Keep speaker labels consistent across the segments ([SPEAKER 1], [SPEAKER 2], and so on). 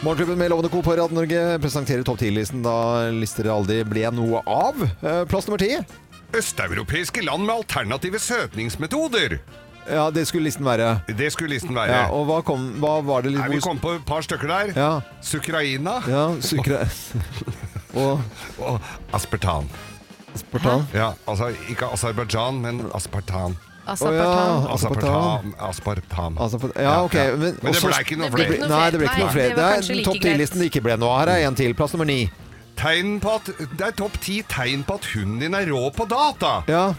[SPEAKER 1] Morgenklubben med Lovende Co. på Radio Norge presenterer topp 10-listen da lister det aldri ble noe av. Eh, Plass nummer ti.
[SPEAKER 2] Østeuropeiske land med alternative søkningsmetoder.
[SPEAKER 1] Ja, det skulle listen være.
[SPEAKER 2] Det skulle listen være.
[SPEAKER 1] Ja, og hva, kom, hva var det
[SPEAKER 2] Nei, vi kom på et par stykker der.
[SPEAKER 1] Ja,
[SPEAKER 2] Sukraina
[SPEAKER 1] ja sykre... og
[SPEAKER 2] og aspartan.
[SPEAKER 1] aspartam.
[SPEAKER 2] Ja, altså ikke Aserbajdsjan, men aspartan.
[SPEAKER 3] Aserbajdsjan.
[SPEAKER 1] Å, ja.
[SPEAKER 2] Aspartam. Aspartam.
[SPEAKER 1] Altså, for- Ah, ja, ok.
[SPEAKER 2] Ja, ja.
[SPEAKER 1] Men,
[SPEAKER 2] Men det
[SPEAKER 1] også-
[SPEAKER 2] ble ikke noe
[SPEAKER 3] Det ble ikke
[SPEAKER 2] flere.
[SPEAKER 3] noe
[SPEAKER 1] Nei, det
[SPEAKER 3] flere.
[SPEAKER 1] ble ikke noe
[SPEAKER 3] Nei,
[SPEAKER 1] flere.
[SPEAKER 3] det var
[SPEAKER 1] Det
[SPEAKER 3] kanskje
[SPEAKER 1] er
[SPEAKER 3] like
[SPEAKER 1] topp
[SPEAKER 3] greit.
[SPEAKER 1] ti-listen det ikke ble noe av. Her er en til. Plass nummer ni.
[SPEAKER 2] Tegn på at Det er topp ti tegn på at hunden din er rå på data.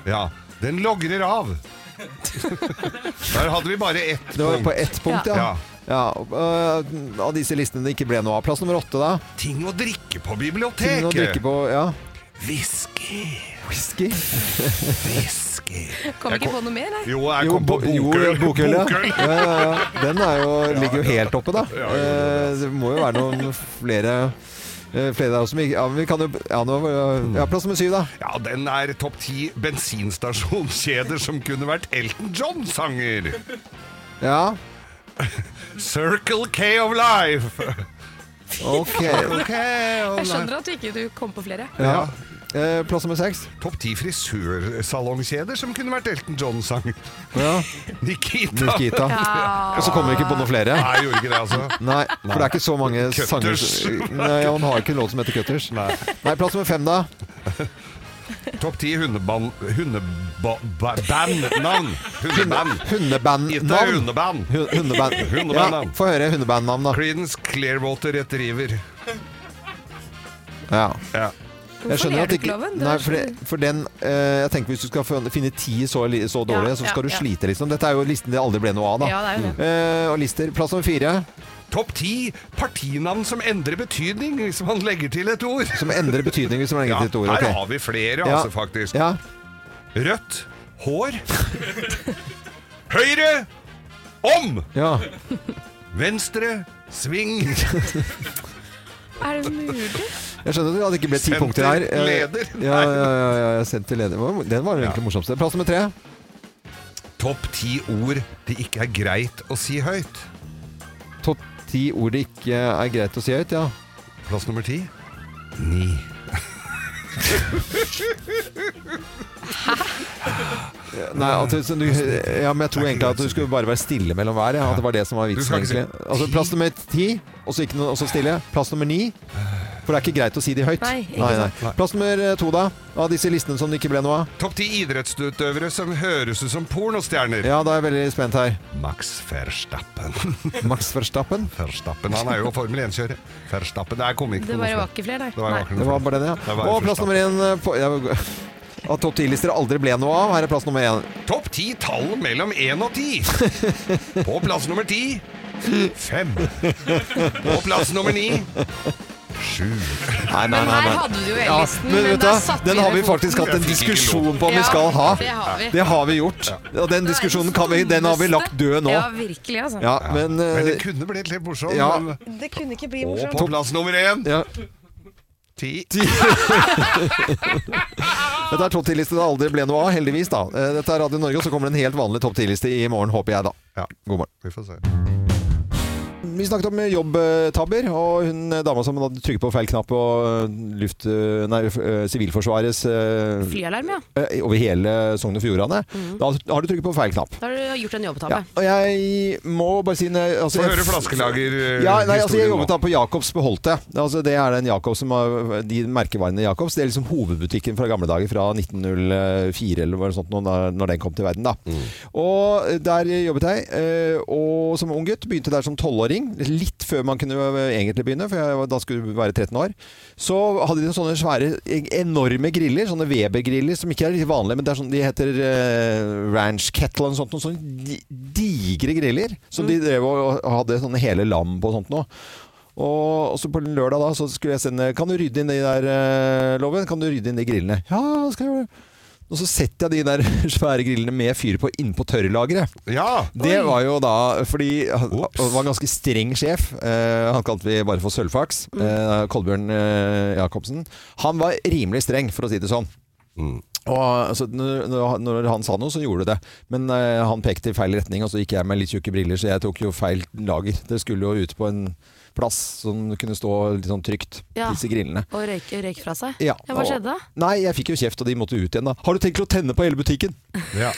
[SPEAKER 1] Ja.
[SPEAKER 2] Den logrer av. Der hadde vi bare ett
[SPEAKER 1] Det var på
[SPEAKER 2] punkt.
[SPEAKER 1] ett punkt, ja.
[SPEAKER 2] Ja.
[SPEAKER 1] ja. og, øh, av disse listene det ikke ble noe av. Plass nummer åtte, da.
[SPEAKER 2] Ting å drikke på
[SPEAKER 1] Ting å drikke
[SPEAKER 2] biblioteket.
[SPEAKER 1] på Ja.
[SPEAKER 2] Whisky,
[SPEAKER 1] Whisky.
[SPEAKER 2] whisky
[SPEAKER 3] Kom
[SPEAKER 2] Jeg
[SPEAKER 3] ikke
[SPEAKER 2] kom-
[SPEAKER 3] på noe mer, nei.
[SPEAKER 2] Jo, jeg
[SPEAKER 1] Jo,
[SPEAKER 2] kom på
[SPEAKER 1] bo- jo,
[SPEAKER 2] bokøl.
[SPEAKER 1] bokøl, ja.
[SPEAKER 2] Bokøl.
[SPEAKER 1] Ja, ja, ja. Den er jo, ligger jo helt oppe, da.
[SPEAKER 2] Ja, ja, ja.
[SPEAKER 1] Eh, Det må jo være noen flere eh, Flere der også. men ikke- Ja, men vi kan jo Ja, nå, ja plass nummer syv, da.
[SPEAKER 2] Ja, den er topp ti bensinstasjonskjeder som kunne vært Elton John-sanger.
[SPEAKER 1] Ja,
[SPEAKER 2] Circle K of Life.
[SPEAKER 1] ok.
[SPEAKER 2] Ok, of
[SPEAKER 3] Jeg
[SPEAKER 2] life.
[SPEAKER 3] skjønner at du ikke du kom på flere.
[SPEAKER 1] Ja. Eh, Plass nummer seks.
[SPEAKER 2] Topp ti frisørsalongkjeder som kunne vært Elton John-sanger.
[SPEAKER 1] Ja.
[SPEAKER 2] Nikita.
[SPEAKER 1] Nikita.
[SPEAKER 3] Ah,
[SPEAKER 1] Og så kommer vi ikke på noen flere.
[SPEAKER 2] Nei, jeg gjorde ikke det, altså.
[SPEAKER 1] Nei, for det er ikke så mange
[SPEAKER 2] Cutters.
[SPEAKER 1] sanger som- Nei, Han har ikke en låt som heter Cutters. Nei, plass nummer fem, da.
[SPEAKER 2] Topp ti hundeband... Hundeband-navn. Hundeband. Gitt deg
[SPEAKER 1] Hundebandnavn.
[SPEAKER 2] hundeband.
[SPEAKER 1] Hun- Hundeband. Ja,
[SPEAKER 2] Hundebandnavn.
[SPEAKER 1] Få høre hundebandnavn, da.
[SPEAKER 2] Creedence Clearwater Retriever.
[SPEAKER 1] Ja.
[SPEAKER 2] Ja.
[SPEAKER 1] Jeg
[SPEAKER 3] Hvorfor
[SPEAKER 1] skjønner
[SPEAKER 3] ler
[SPEAKER 1] at
[SPEAKER 3] du
[SPEAKER 1] ikke
[SPEAKER 3] ikke, Loven? Du
[SPEAKER 1] Nei,
[SPEAKER 3] er
[SPEAKER 1] for, det, for den eh, Jeg tenker hvis du skal fø- finne ti så, li- så dårlige, så
[SPEAKER 3] ja,
[SPEAKER 1] skal du
[SPEAKER 3] ja.
[SPEAKER 1] slite, liksom. Dette er jo listen det aldri ble noe av, da.
[SPEAKER 3] Ja, det er jo det.
[SPEAKER 1] Eh, og lister. Plass nummer fire,
[SPEAKER 2] Topp ti partinavn som endrer betydning hvis man legger til et ord.
[SPEAKER 1] som endrer betydning hvis man legger
[SPEAKER 2] Ja,
[SPEAKER 1] til et ord.
[SPEAKER 2] her
[SPEAKER 1] ok.
[SPEAKER 2] har vi flere,
[SPEAKER 1] Ja.
[SPEAKER 2] altså, faktisk.
[SPEAKER 1] Ja.
[SPEAKER 2] Rødt hår. Høyre om.
[SPEAKER 1] ja.
[SPEAKER 2] Venstre sving.
[SPEAKER 3] Er det mulig?
[SPEAKER 1] Jeg skjønner at det ikke ble ti
[SPEAKER 2] Sendt
[SPEAKER 1] punkter her.
[SPEAKER 2] til
[SPEAKER 1] Eh,
[SPEAKER 2] leder.
[SPEAKER 1] Ja, ja, ja, ja, ja, sendt til leder. Hva- Den var egentlig
[SPEAKER 2] Ja.
[SPEAKER 1] morsomst. Plass nummer tre.
[SPEAKER 2] Topp ti ord det ikke er greit å si høyt.
[SPEAKER 1] Topp ti ord det ikke er greit å si høyt, ja.
[SPEAKER 2] Plass nummer ti. Ni.
[SPEAKER 1] Nei, at du, så du, ja, men jeg tror egentlig at du skulle bare være stille mellom hver. Ja. At det var det som var
[SPEAKER 2] Du
[SPEAKER 1] vitsen,
[SPEAKER 2] skal ikke si
[SPEAKER 1] egentlig. Altså, plass nummer ti, og så ikke noe- og så stille. Plass nummer ni. For det er ikke greit å si de høyt.
[SPEAKER 3] Nei, ikke
[SPEAKER 2] sant.
[SPEAKER 1] Plass nummer eh, to, da? Av disse listene som det ikke ble noe av?
[SPEAKER 2] Topp ti idrettsutøvere som høres ut som pornostjerner.
[SPEAKER 1] Ja, da er jeg veldig spent her.
[SPEAKER 2] Max Verstappen.
[SPEAKER 1] Max Verstappen.
[SPEAKER 2] Verstappen, Han er jo Formel 1-kjører. Verstappen, Der kom ikke
[SPEAKER 3] Det
[SPEAKER 2] på
[SPEAKER 3] bare
[SPEAKER 2] noe
[SPEAKER 3] var ikke flere, nei.
[SPEAKER 2] Det var jo
[SPEAKER 3] nei.
[SPEAKER 2] ikke noe
[SPEAKER 1] Det var
[SPEAKER 2] flere.
[SPEAKER 1] bare den, ja.
[SPEAKER 2] var
[SPEAKER 1] Og plass
[SPEAKER 2] Verstappen.
[SPEAKER 1] nummer én eh, på- ja, Av topp ti-lister aldri ble noe av. Her er plass nummer én.
[SPEAKER 2] Topp ti tall mellom 1 og 10. På plass nummer 10 5. På plass nummer 9 7.
[SPEAKER 1] Nei, nei,
[SPEAKER 3] Men
[SPEAKER 1] nei.
[SPEAKER 3] her
[SPEAKER 1] nei.
[SPEAKER 3] hadde du jo
[SPEAKER 1] Ja,
[SPEAKER 3] E-listen,
[SPEAKER 1] men
[SPEAKER 3] men,
[SPEAKER 1] vet du,
[SPEAKER 3] der
[SPEAKER 1] hva?
[SPEAKER 3] satte
[SPEAKER 1] den har vi
[SPEAKER 3] ned foten.
[SPEAKER 1] faktisk hatt en
[SPEAKER 2] Jeg fikk ikke
[SPEAKER 1] diskusjon på om vi
[SPEAKER 3] Ja,
[SPEAKER 1] skal ha.
[SPEAKER 3] Det har vi.
[SPEAKER 1] Det har vi gjort. Og den diskusjonen kan vi, den har vi lagt død nå.
[SPEAKER 3] Ja, virkelig, altså.
[SPEAKER 1] Ja, men,
[SPEAKER 2] Men det
[SPEAKER 1] eh,
[SPEAKER 2] kunne blitt litt morsomt.
[SPEAKER 1] ja.
[SPEAKER 2] men-
[SPEAKER 3] Det kunne ikke bli
[SPEAKER 2] Og på plass nummer 1
[SPEAKER 1] ja.
[SPEAKER 2] 10.
[SPEAKER 1] Dette er topp 10-liste det aldri ble noe av, heldigvis. da Eh, Dette er Radio Norge, og så kommer det en helt vanlig topp 10-liste i morgen, håper jeg, da.
[SPEAKER 2] Ja,
[SPEAKER 1] God morgen.
[SPEAKER 2] vi får se.
[SPEAKER 1] Vi snakket om jobbtabber, og hun eh, dama som hadde trykket på feil knapp på eh, luft, eh, nei, f- eh, Sivilforsvarets eh,
[SPEAKER 4] Flyalarm, ja.
[SPEAKER 1] eh, over hele Sogn og Fjordane,
[SPEAKER 3] Mm.
[SPEAKER 1] da har du trykket på feil knapp.
[SPEAKER 4] Da har du gjort en jobbetabbe.
[SPEAKER 1] Ja, og jeg må bare si når- altså,
[SPEAKER 2] Få
[SPEAKER 1] jeg-
[SPEAKER 2] høre flaskelager-historien
[SPEAKER 1] Ja, nei, altså, jeg
[SPEAKER 2] nå.
[SPEAKER 1] jobbet da på Jacobs Beholdte. Altså, det er den Jacobs som har, de merkevarene Jacobs. Det er liksom hovedbutikken fra gamle dager, fra 1904 eller noe sånt, nå, da- når den kom til verden. da. Og der jobbet jeg, eh, og som ung gutt. Begynte der som tolvåring. Litt før man kunne eh, egentlig begynne, for jeg, var- da skulle jeg være 13 år. Så hadde de sånne svære, enorme griller, sånne Weber-griller, som ikke er litt vanlige, men det er sånn, de heter eh, Ranch Kettle og sånt, noe sånn di- digre griller. Som de drev og og hadde sånne hele lam på og sånt noe. Og og så på lørdag da, så skulle jeg sende Kan du rydde inn de der, eh, Loven? Kan du rydde inn de grillene? Ja, hva skal jeg gjøre det. Og så setter jeg de der svære grillene med fyr på innpå tørrlageret.
[SPEAKER 2] Ja.
[SPEAKER 1] Det var jo da fordi han
[SPEAKER 2] Ops.
[SPEAKER 1] han var en ganske streng sjef. Eh, han kalte vi bare for Sølvfaks.
[SPEAKER 4] Mm.
[SPEAKER 1] Eh, Kolbjørn eh, Jacobsen. Han var rimelig streng, for å si det sånn.
[SPEAKER 2] Mm.
[SPEAKER 1] Og, altså, når, når- når han sa noe, så gjorde du det. Men eh, han pekte i feil retning, og så gikk jeg med litt tjukke briller, så jeg tok jo feil lager. Det skulle jo ut på en plass som kunne stå litt sånn trygt,
[SPEAKER 4] Ja.
[SPEAKER 1] disse grillene.
[SPEAKER 4] Og røyk, røyk fra seg.
[SPEAKER 1] Ja,
[SPEAKER 4] Ja, hva
[SPEAKER 1] og-
[SPEAKER 4] skjedde da?
[SPEAKER 1] Nei, jeg fikk jo kjeft, og de måtte ut igjen da. Har du tenkt å tenne på hele butikken?
[SPEAKER 2] ja.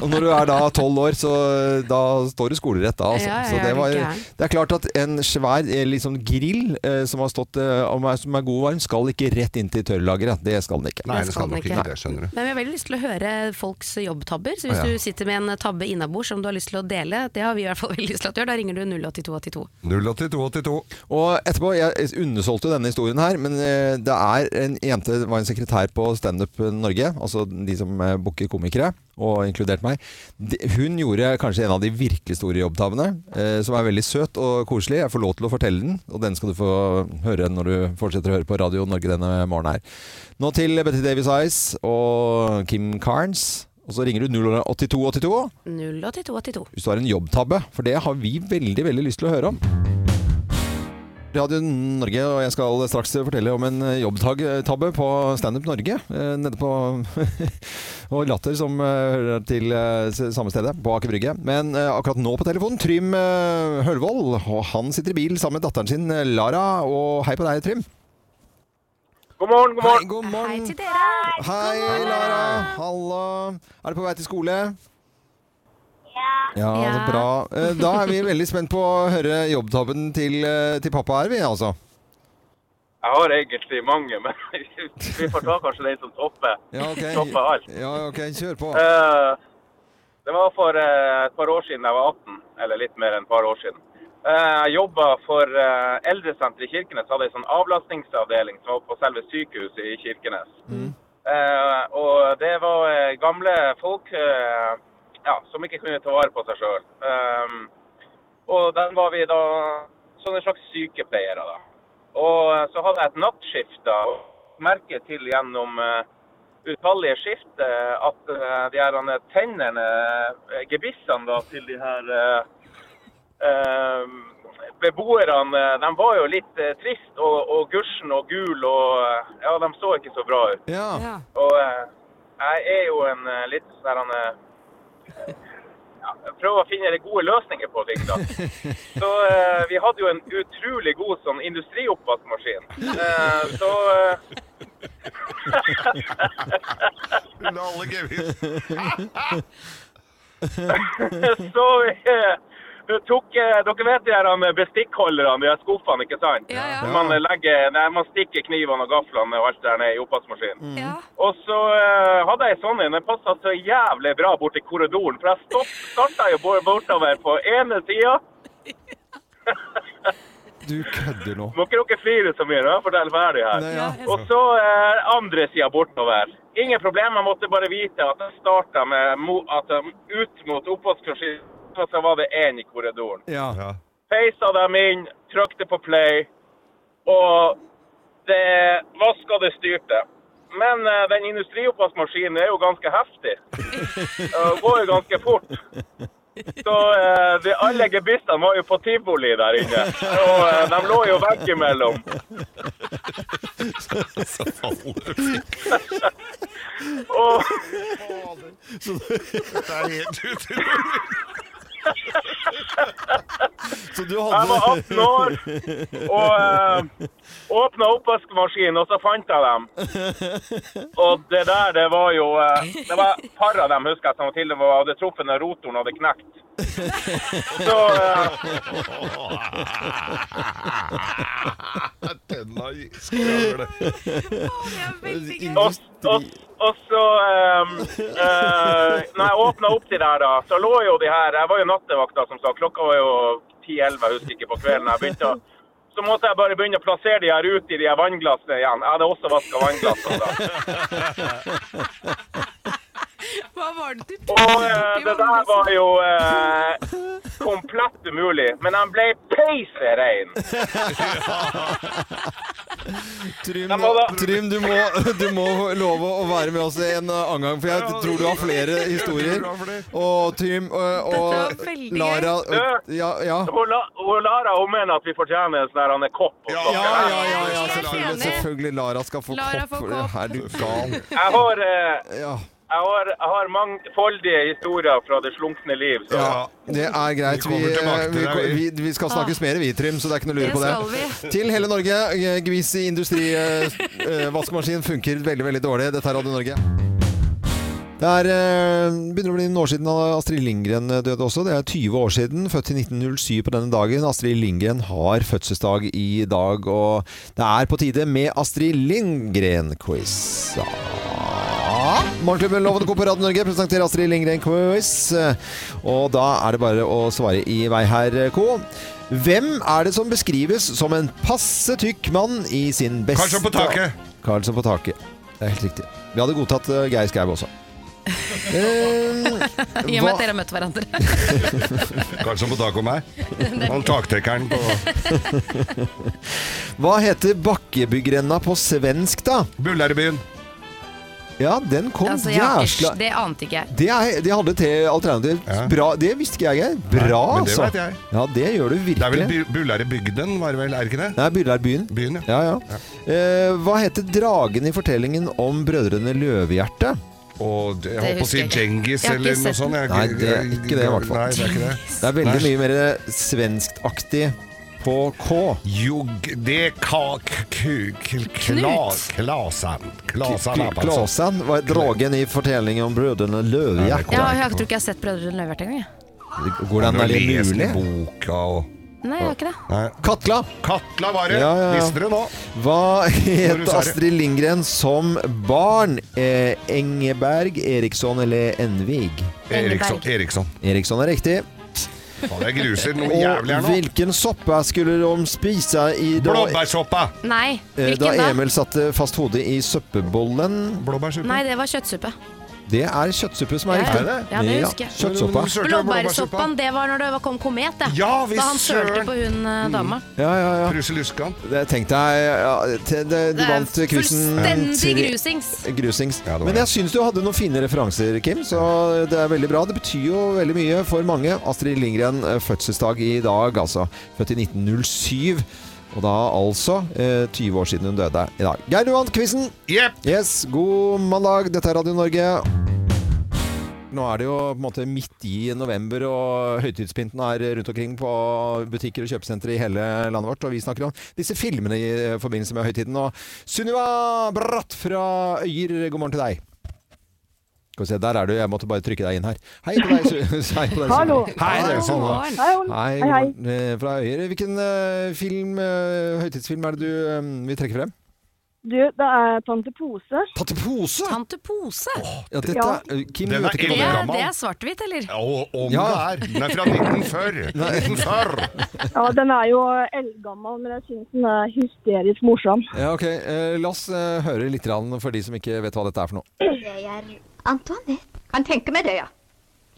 [SPEAKER 1] Og når du er da tolv år, så eh, da står det skolerett da. Altså.
[SPEAKER 4] Ja, ja,
[SPEAKER 1] så
[SPEAKER 4] ja,
[SPEAKER 1] det,
[SPEAKER 4] er
[SPEAKER 1] var,
[SPEAKER 4] du gæren?
[SPEAKER 1] det er klart at en svær eh, liksom grill eh, som har stått eh, om er, som er god og varm, skal ikke rett inn til tørrlageret. Det skal den ikke.
[SPEAKER 2] Nei,
[SPEAKER 4] Det
[SPEAKER 2] det
[SPEAKER 4] skal
[SPEAKER 2] skal
[SPEAKER 4] den
[SPEAKER 2] nok
[SPEAKER 4] ikke.
[SPEAKER 2] ikke det, skjønner du.
[SPEAKER 4] Men vi har veldig lyst til å høre folks jobbtabber. Så hvis
[SPEAKER 1] Å, ja.
[SPEAKER 4] du sitter med en tabbe innabords som du har lyst til å dele, det har vi i hvert fall veldig lyst til at du gjør, da ringer du 08282.
[SPEAKER 2] 08282.
[SPEAKER 1] Og etterpå, jeg undersolgte jo denne historien her, men eh, det er en jente, det var en sekretær på Standup Norge, altså de som eh, booker komikere, og inkludert meg. De, hun gjorde kanskje en av de virkelig store jobbtabene, eh, som er veldig søt og koselig. Jeg får lov til å fortelle den, og den skal du få høre når du fortsetter å høre på Radio Norge denne morgenen her. Nå til Betty Davis Eyes og Kim Carnes. Og så ringer du 08282
[SPEAKER 4] 08282.
[SPEAKER 1] hvis du har en jobbtabbe, for det har vi veldig, veldig lyst til å høre om. Radio Norge, og jeg skal straks fortelle om en jobbtabbe på Standup Norge. eh, Nede på Og Latter, som eh, hører til eh, s- samme stedet, på Aker Brygge. Men eh, akkurat nå på telefonen, Trym eh, Hølevold. Og han sitter i bil sammen med datteren sin, eh, Lara. Og hei på deg, Trym.
[SPEAKER 5] God morgen, god
[SPEAKER 1] Hei, god
[SPEAKER 4] Hei
[SPEAKER 5] morgen.
[SPEAKER 1] morgen.
[SPEAKER 4] til dere!
[SPEAKER 1] Hei, Lara. Halla. Er du på vei til skole? Ja,
[SPEAKER 4] Ja.
[SPEAKER 1] så bra. Eh, Da er vi veldig spent på å høre jobbtabben til, eh, til pappa her, vi altså.
[SPEAKER 5] Jeg har egentlig mange, men vi får ta kanskje den som topper,
[SPEAKER 1] Ja, ok.
[SPEAKER 5] topper alt.
[SPEAKER 1] Ja, ok, kjør på.
[SPEAKER 5] Eh, det var for eh, et par år siden jeg var 18, eller litt mer enn et par år siden. Eh, jeg jobba for eh, eldresenteret i Kirkenes, hadde en sånn avlastningsavdeling som var på selve sykehuset i Kirkenes.
[SPEAKER 1] Mm.
[SPEAKER 5] Eh, og det var eh, gamle folk eh, ja, som ikke kunne ta vare på seg sjøl. og den var vi da sånne slags sykepleiere, da. Og eh, så hadde jeg et nattskift, da. og Merke til gjennom eh, utallige skift eh, at eh, de her eh, tennene, eh, gebissene da, til de her eh, eh, beboerne, eh, de var jo litt eh, trist og, og gusjen og gul og eh, ja, de så ikke så bra ut.
[SPEAKER 1] Ja.
[SPEAKER 5] Og eh, jeg er jo en eh, litt sånn her, eh, ja, jeg prøver å finne gode løsninger på ting, da. Så eh, vi hadde jo en utrolig god sånn industrioppvaskmaskin. Eh, så eh,
[SPEAKER 2] La alle gevinst.
[SPEAKER 5] så eh, du tok eh, Dere vet de her eh, bestikkholderne, de her skuffene, ikke sant?
[SPEAKER 3] Ja, ja.
[SPEAKER 5] Hvor Man, eh, legger, nei, man stikker knivene og gaflene og alt der nede i
[SPEAKER 4] Mm.
[SPEAKER 5] oppvaskmaskinen.
[SPEAKER 3] ja.
[SPEAKER 5] Og så eh, hadde jeg sånn en. Den passa så jævlig bra borti korridoren. For jeg stopp- starta jo bor- bortover på ene sida.
[SPEAKER 1] Du kødder nå.
[SPEAKER 5] Må ikke dere flire så mye når jeg forteller ferdig her.
[SPEAKER 1] Nei, ja.
[SPEAKER 5] Og så eh, andre sida bortover. Ingen problem, jeg måtte bare vite at jeg starta med mo- at eh, ut mot oppvaskmaskinen, og så var det én i korridoren.
[SPEAKER 1] Ja.
[SPEAKER 2] Ja.
[SPEAKER 5] peisa dem inn, trykte på play, og det vaska det styrte. Men eh, den industrioppvaskmaskinen er jo ganske heftig. Og går jo ganske fort. Så eh, de, alle gebissene var jo på tivoli der inne. Og eh, de lå jo veggimellom. Og
[SPEAKER 2] Det er helt utrolig.
[SPEAKER 1] Så du
[SPEAKER 5] Jeg var
[SPEAKER 1] hadde
[SPEAKER 5] 18 år og eh, åpna oppvaskmaskinen, og så fant jeg dem. Og det der, det var jo eh, Det var et par av dem, husker jeg, som til og med hadde truffet når rotoren hadde knekt. Så eh,
[SPEAKER 2] Denne skravler det.
[SPEAKER 5] og, og, og så um, Når jeg åpna opp de der, da, så lå jo de her Jeg var jo nattevakt, da, som sagt. Klokka var jo 10-11, jeg husker ikke, på kvelden jeg begynte. å- Så måtte jeg bare begynne å plassere de her ut i de her vannglassene igjen. Jeg hadde også vaska vannglassene da.
[SPEAKER 3] Hva var det du
[SPEAKER 5] Og eh, det der var jo eh, komplett umulig. Men han ble peiserein.
[SPEAKER 1] Trym,
[SPEAKER 5] Jeg må da-
[SPEAKER 1] Trym du, må, du må love å være med oss en eh, annen gang, for jeg tror du har flere historier.
[SPEAKER 2] du har flere.
[SPEAKER 1] Og Trym og,
[SPEAKER 3] Dette
[SPEAKER 1] og
[SPEAKER 3] var veldig gøy.
[SPEAKER 1] Lara og, Ja, ja.
[SPEAKER 5] Hun la- hun Lara hun mener at vi fortjener en sånn her, han er kopp. og sånt.
[SPEAKER 1] Ja, ja, ja,
[SPEAKER 3] Jeg er
[SPEAKER 1] ja selvfølgelig,
[SPEAKER 3] enig.
[SPEAKER 1] selvfølgelig. Lara skal få
[SPEAKER 3] Lara
[SPEAKER 1] kopp.
[SPEAKER 3] får kopp.
[SPEAKER 1] Er du gal?
[SPEAKER 5] Jeg har, eh,
[SPEAKER 1] Ja.
[SPEAKER 5] jeg har, jeg har mangfoldige historier fra det slunkne liv. Så.
[SPEAKER 1] Ja, det er greit.
[SPEAKER 2] Vi
[SPEAKER 1] Vi,
[SPEAKER 2] kommer tilbake til
[SPEAKER 1] vi,
[SPEAKER 2] deg,
[SPEAKER 1] vi, vi skal snakkes mer, vi, Trym, så det er ikke noe å lure
[SPEAKER 4] Det
[SPEAKER 1] på
[SPEAKER 4] skal
[SPEAKER 1] det.
[SPEAKER 4] vi.
[SPEAKER 1] Til hele Norge. eh, Gvis i industri. eh, eh, Vaskemaskin funker veldig, veldig dårlig. Dette er Radio Norge. Det er, eh, begynner å bli noen år siden Astrid Lindgren eh, døde også. Det er 20 år siden. Født i 1907 på denne dagen. Astrid Lindgren har fødselsdag i dag, og det er på tide med Astrid Lindgren-quiz. Ja. Morgenklubben Loven Co. på Radio Norge presenterer Astrid Lindgren-quiz. Og da er det bare å svare i vei her, eh, Co. Hvem er det som beskrives som en passe tykk mann i sin beste
[SPEAKER 2] Karlsson på taket.
[SPEAKER 1] Karlsson på taket. Det er helt riktig. Vi hadde godtatt eh, Geir Skau også. Eh,
[SPEAKER 4] I og med
[SPEAKER 1] hva,
[SPEAKER 4] at dere har møtt hverandre.
[SPEAKER 2] Karlsson på taket og meg. Han taktekkeren på
[SPEAKER 1] hva heter bakkebyggrenna på svensk, da?
[SPEAKER 2] Bullarebyen.
[SPEAKER 1] Ja, den kom
[SPEAKER 4] Altså, ja,
[SPEAKER 1] jæsla
[SPEAKER 4] æsj, det ante ikke jeg.
[SPEAKER 1] det, er, det hadde til alternativ.
[SPEAKER 2] Ja.
[SPEAKER 1] Bra, det visste ikke jeg, Geir. Bra,
[SPEAKER 2] Nei, men det
[SPEAKER 1] altså.
[SPEAKER 2] vet jeg.
[SPEAKER 1] Ja, det gjør du
[SPEAKER 2] Det er vel
[SPEAKER 1] virkelig.
[SPEAKER 2] Bu- Bullarebygden, var det vel? Er det ikke det?
[SPEAKER 1] Det er Byllærbyen.
[SPEAKER 2] Byen, ja.
[SPEAKER 1] Ja, ja. Eh, hva heter dragen i fortellingen om Brødrene Løvehjerte?
[SPEAKER 2] Og det-
[SPEAKER 4] Det
[SPEAKER 2] jeg holdt på å si
[SPEAKER 4] husker jeg ikke.
[SPEAKER 2] Djengis
[SPEAKER 4] Jeg har
[SPEAKER 2] eller
[SPEAKER 4] ikke
[SPEAKER 2] noe
[SPEAKER 4] sett
[SPEAKER 2] sånt. Jeg,
[SPEAKER 1] Nei, det er ikke det i hvert fall.
[SPEAKER 2] Nei, det er ikke det.
[SPEAKER 1] Det er veldig
[SPEAKER 2] Nei.
[SPEAKER 1] mye mer svenskaktig på K.
[SPEAKER 2] Jugg... Det kak... Ku... kl- Kla... Klasan. Klasan er bare sånn.
[SPEAKER 1] Klasen var dragen i fortellingen om Brødrene Løvehjerte.
[SPEAKER 4] Ja, jeg tror ikke jeg har sett Brødrene Løvert engang. jeg.
[SPEAKER 1] Hvordan er det
[SPEAKER 2] Lesen
[SPEAKER 1] mulig?
[SPEAKER 2] boka og
[SPEAKER 4] Nei, jeg har ikke det.
[SPEAKER 2] Nei.
[SPEAKER 1] Katla!
[SPEAKER 2] Katla var det!
[SPEAKER 1] Ja, ja, ja.
[SPEAKER 2] Visste dere nå?
[SPEAKER 1] Hva
[SPEAKER 2] Når du
[SPEAKER 1] het
[SPEAKER 2] sa det.
[SPEAKER 1] Astrid Lindgren som barn? Eh, Engeberg, Eriksson eller Envig?
[SPEAKER 2] Eriksson.
[SPEAKER 4] Engeberg.
[SPEAKER 2] Eriksson.
[SPEAKER 1] Eriksson er riktig.
[SPEAKER 2] Faen, jeg gruser noe
[SPEAKER 1] Og
[SPEAKER 2] jævlig her nå.
[SPEAKER 1] hvilken soppe skulle de spise i da,
[SPEAKER 2] Blåbærsoppa!
[SPEAKER 4] Nei,
[SPEAKER 1] eh, da
[SPEAKER 4] hvilken da?
[SPEAKER 1] Emil satte fast hodet i søppebollen?
[SPEAKER 2] Blåbærsuppe.
[SPEAKER 4] Nei, det var kjøttsuppe.
[SPEAKER 1] Det er kjøttsuppe som er
[SPEAKER 4] Ja, ja.
[SPEAKER 1] riktig.
[SPEAKER 4] Ja, det husker jeg.
[SPEAKER 1] Kjøttsoppa.
[SPEAKER 2] Men du sølte jo
[SPEAKER 4] Blåbærsoppaen, det var når det var- kom komet, det.
[SPEAKER 2] Ja, vi
[SPEAKER 4] da han sølte
[SPEAKER 2] søren.
[SPEAKER 4] på hun eh, dama.
[SPEAKER 1] Ja, ja, ja.
[SPEAKER 2] Truseluskan.
[SPEAKER 1] Det- Tenk deg ja, te- det, Du
[SPEAKER 4] Det er
[SPEAKER 1] vant quizen
[SPEAKER 4] Fullstendig
[SPEAKER 1] til-
[SPEAKER 4] grusings.
[SPEAKER 1] Grusings.
[SPEAKER 2] Ja, det var
[SPEAKER 1] Men
[SPEAKER 2] det.
[SPEAKER 1] jeg syns du hadde noen fine referanser, Kim, så det er veldig bra. Det betyr jo veldig mye for mange. Astrid Lindgren, eh, fødselsdag i dag, altså. Født i 1907. Og da altså eh, 20 år siden hun døde i dag. Geir, du vant quizen!
[SPEAKER 2] Jepp!
[SPEAKER 1] Yes, god mandag. Dette er Radio Norge. Nå er det jo på en måte midt i november, og høytidspynten er rundt omkring på butikker og kjøpesentre i hele landet vårt. Og vi snakker om disse filmene i forbindelse med høytiden. Og Sunniva Bratt fra Øyer, god morgen til deg. Skal vi se, der er du. Jeg måtte bare trykke deg inn her. Hei på deg, Su- Hei på deg Hallo. Hei, det er Sunniva. Hei, god morgen, eh, fra Øyer. Hvilken eh, film, eh, høytidsfilm er det du eh, vil trekke frem?
[SPEAKER 6] Du, det er Tante Pose.
[SPEAKER 1] Tante Pose!
[SPEAKER 4] Tante Pose.
[SPEAKER 1] Ja, dette
[SPEAKER 6] Ja.
[SPEAKER 1] er eh, Kim,
[SPEAKER 2] Den
[SPEAKER 1] du vet
[SPEAKER 2] er
[SPEAKER 1] ikke
[SPEAKER 4] Det
[SPEAKER 1] om det
[SPEAKER 4] er,
[SPEAKER 2] Gammel.
[SPEAKER 4] det er svart-hvitt, eller?
[SPEAKER 2] Og om
[SPEAKER 1] Ja.
[SPEAKER 2] det er! Den er fra 1940. 1940.
[SPEAKER 6] Ja, den er jo eldgammel, men jeg syns den er hysterisk morsom.
[SPEAKER 1] Ja, ok. Eh, la oss eh, høre litt grann for de som ikke vet hva dette er for noe.
[SPEAKER 7] Jeg er Antoinette. Kan tenke meg det, ja.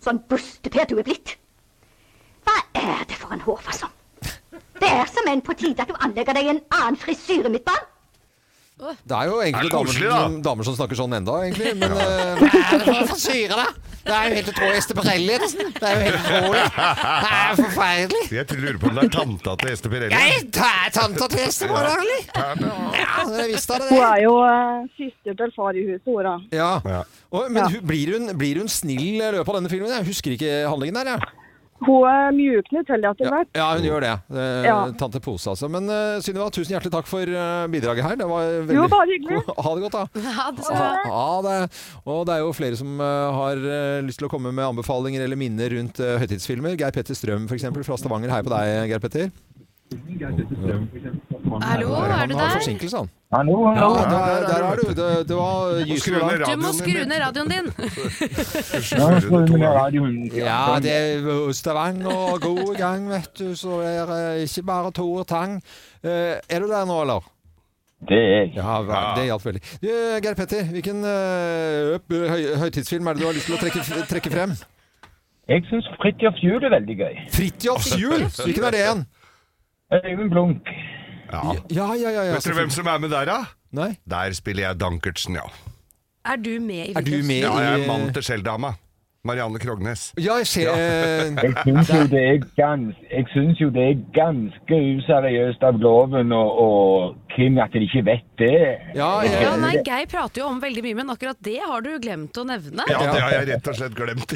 [SPEAKER 7] Sånn bustepet du er blitt. Hva er det for en hårfasong? Det er som en på tide at du anlegger deg en annen frisyre, mitt barn.
[SPEAKER 1] Det er jo egentlig
[SPEAKER 2] Er det koselig,
[SPEAKER 1] damer,
[SPEAKER 2] da?
[SPEAKER 1] som- damer som snakker sånn enda, egentlig. Men eh,
[SPEAKER 8] Hva for syre, da? Det er jo helt utrolig. Esteparelli, nesten. Det er jo helt utrolig. Det er jo forferdelig.
[SPEAKER 2] Jeg tror- lurer på om det er tanta til Ester
[SPEAKER 8] Jeg
[SPEAKER 2] Pirelli.
[SPEAKER 8] tar tanta til Esteparelli. Ja, jeg visste det.
[SPEAKER 6] Hun er jo eh, søster til far i huset, hun da.
[SPEAKER 1] ja.
[SPEAKER 2] Ja.
[SPEAKER 1] Og, men hun, blir, hun, blir hun snill i løpet av denne filmen? Jeg husker ikke handlingen der, jeg.
[SPEAKER 6] Hun eh, mjukner til det etter
[SPEAKER 1] Ja,
[SPEAKER 6] hvert.
[SPEAKER 1] ja, hun gjør det. Eh,
[SPEAKER 6] Ja.
[SPEAKER 1] Tante Pose, altså. Men eh, Synnøve, tusen hjertelig takk for eh, bidraget her. Det var veldig
[SPEAKER 6] Jo, bare hyggelig.
[SPEAKER 1] Ha det godt, da.
[SPEAKER 4] Ja, det
[SPEAKER 1] Ja, ja, det er, og det er jo flere som eh, har eh, lyst til å komme med anbefalinger eller minner rundt eh, høytidsfilmer. Geir Petter Strøm f.eks. fra Stavanger. Hei på deg, Geir Petter.
[SPEAKER 4] Hallo, er
[SPEAKER 1] Han
[SPEAKER 4] du
[SPEAKER 1] har
[SPEAKER 4] der?
[SPEAKER 1] forsinkelse, han.
[SPEAKER 5] Hallo,
[SPEAKER 1] Ja, der, der er du. Det, det var
[SPEAKER 2] Skru
[SPEAKER 1] gyselig
[SPEAKER 2] ned
[SPEAKER 1] langt.
[SPEAKER 4] Du må
[SPEAKER 2] radioen
[SPEAKER 4] skru
[SPEAKER 2] din.
[SPEAKER 4] ned radioen din!
[SPEAKER 1] Ja, det er jo Stavanger god gang, vet du, så det er eh, ikke bare Tore Tang. Eh, Er du der nå, eller?
[SPEAKER 5] Det er
[SPEAKER 1] Ja, vel, det hjalp veldig. Du, Geir Petter, hvilken eh, øp- høy, høytidsfilm er det du har lyst til å trekke, trekke frem?
[SPEAKER 5] Jeg syns Fridtjofs jul er veldig gøy.
[SPEAKER 1] Fridtjofs jul! Hvilken er det igjen?
[SPEAKER 5] Øyvind Blunk.
[SPEAKER 2] Ja.
[SPEAKER 1] Ja, ja, ja. ja
[SPEAKER 2] Vet dere hvem som er med der, da?
[SPEAKER 1] Nei?
[SPEAKER 2] Der spiller jeg Dankertsen, ja.
[SPEAKER 4] Er du med i
[SPEAKER 1] Er du
[SPEAKER 4] videoen?
[SPEAKER 1] med
[SPEAKER 2] Ja, jeg
[SPEAKER 1] i eh,
[SPEAKER 2] er mannen til Skjell-dama. Marianne Krognes.
[SPEAKER 1] Ja, jeg ser eh,
[SPEAKER 5] Jeg syns jo det er ganske, jeg synes jo det er ganske useriøst av Gloven og, og Kim at de ikke vet det.
[SPEAKER 1] Ja, jeg,
[SPEAKER 4] Ja, nei, Geir prater jo om veldig mye, men akkurat det har du glemt å nevne.
[SPEAKER 2] Ja, det har jeg rett og slett glemt.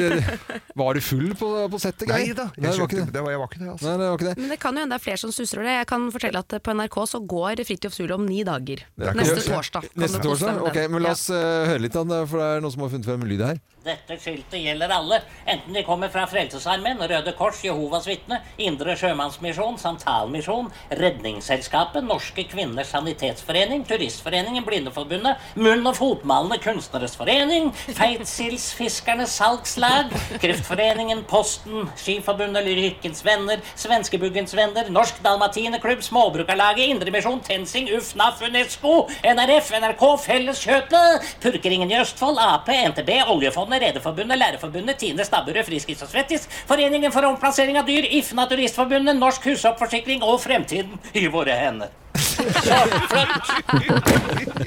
[SPEAKER 1] Var du full på, på settet,
[SPEAKER 2] Nei
[SPEAKER 1] Geir?
[SPEAKER 2] da,
[SPEAKER 1] Nei, det
[SPEAKER 2] jeg,
[SPEAKER 1] var ikke
[SPEAKER 2] skjønte,
[SPEAKER 1] det.
[SPEAKER 2] det var, jeg var ikke det. altså.
[SPEAKER 1] Nei, det var ikke det.
[SPEAKER 4] Men det kan jo hende det er flere som susrer det. Jeg kan fortelle at på NRK så går Fridtjof Sule om ni dager.
[SPEAKER 2] er ikke
[SPEAKER 4] Neste
[SPEAKER 2] det.
[SPEAKER 4] torsdag. kan
[SPEAKER 1] Neste
[SPEAKER 4] du kose deg
[SPEAKER 1] torsdag?
[SPEAKER 4] med
[SPEAKER 1] Ok,
[SPEAKER 4] den.
[SPEAKER 1] men la oss eh, høre litt av det, for det er noen som har funnet frem lyd her.
[SPEAKER 9] Dette skiltet gjelder alle, enten de kommer fra Frelsesarmeen, Røde Kors, Jehovas vitne, Indre Sjømannsmisjon, Santalmisjon, Redningsselskapet, Norske Kvinners Sanitetsforening, Turistforeningen, Blindeforbundet, Munn- og Fotmalende Kunstneres Forening, Feitsildsfiskernes Salgslag, Kreftforeningen, Posten, Skiforbundet, Lyrikkens Venner, Svenskebuggens Venner, Norsk Dalmatineklubb, Småbrukarlaget, Indremisjon, Tensing, UFF, NAF, UNESCO, NRF, NRK, Felleskjøpet, Purkeringen i Østfold, Ap, NTB, Oljefondet, Rederforbundet, Lærerforbundet, Tine Stabburet, Friskis og Svettis, Foreningen for omplassering av dyr, If Naturistforbundet, Norsk husoppforsikring og Fremtiden i våre hender. Så flott!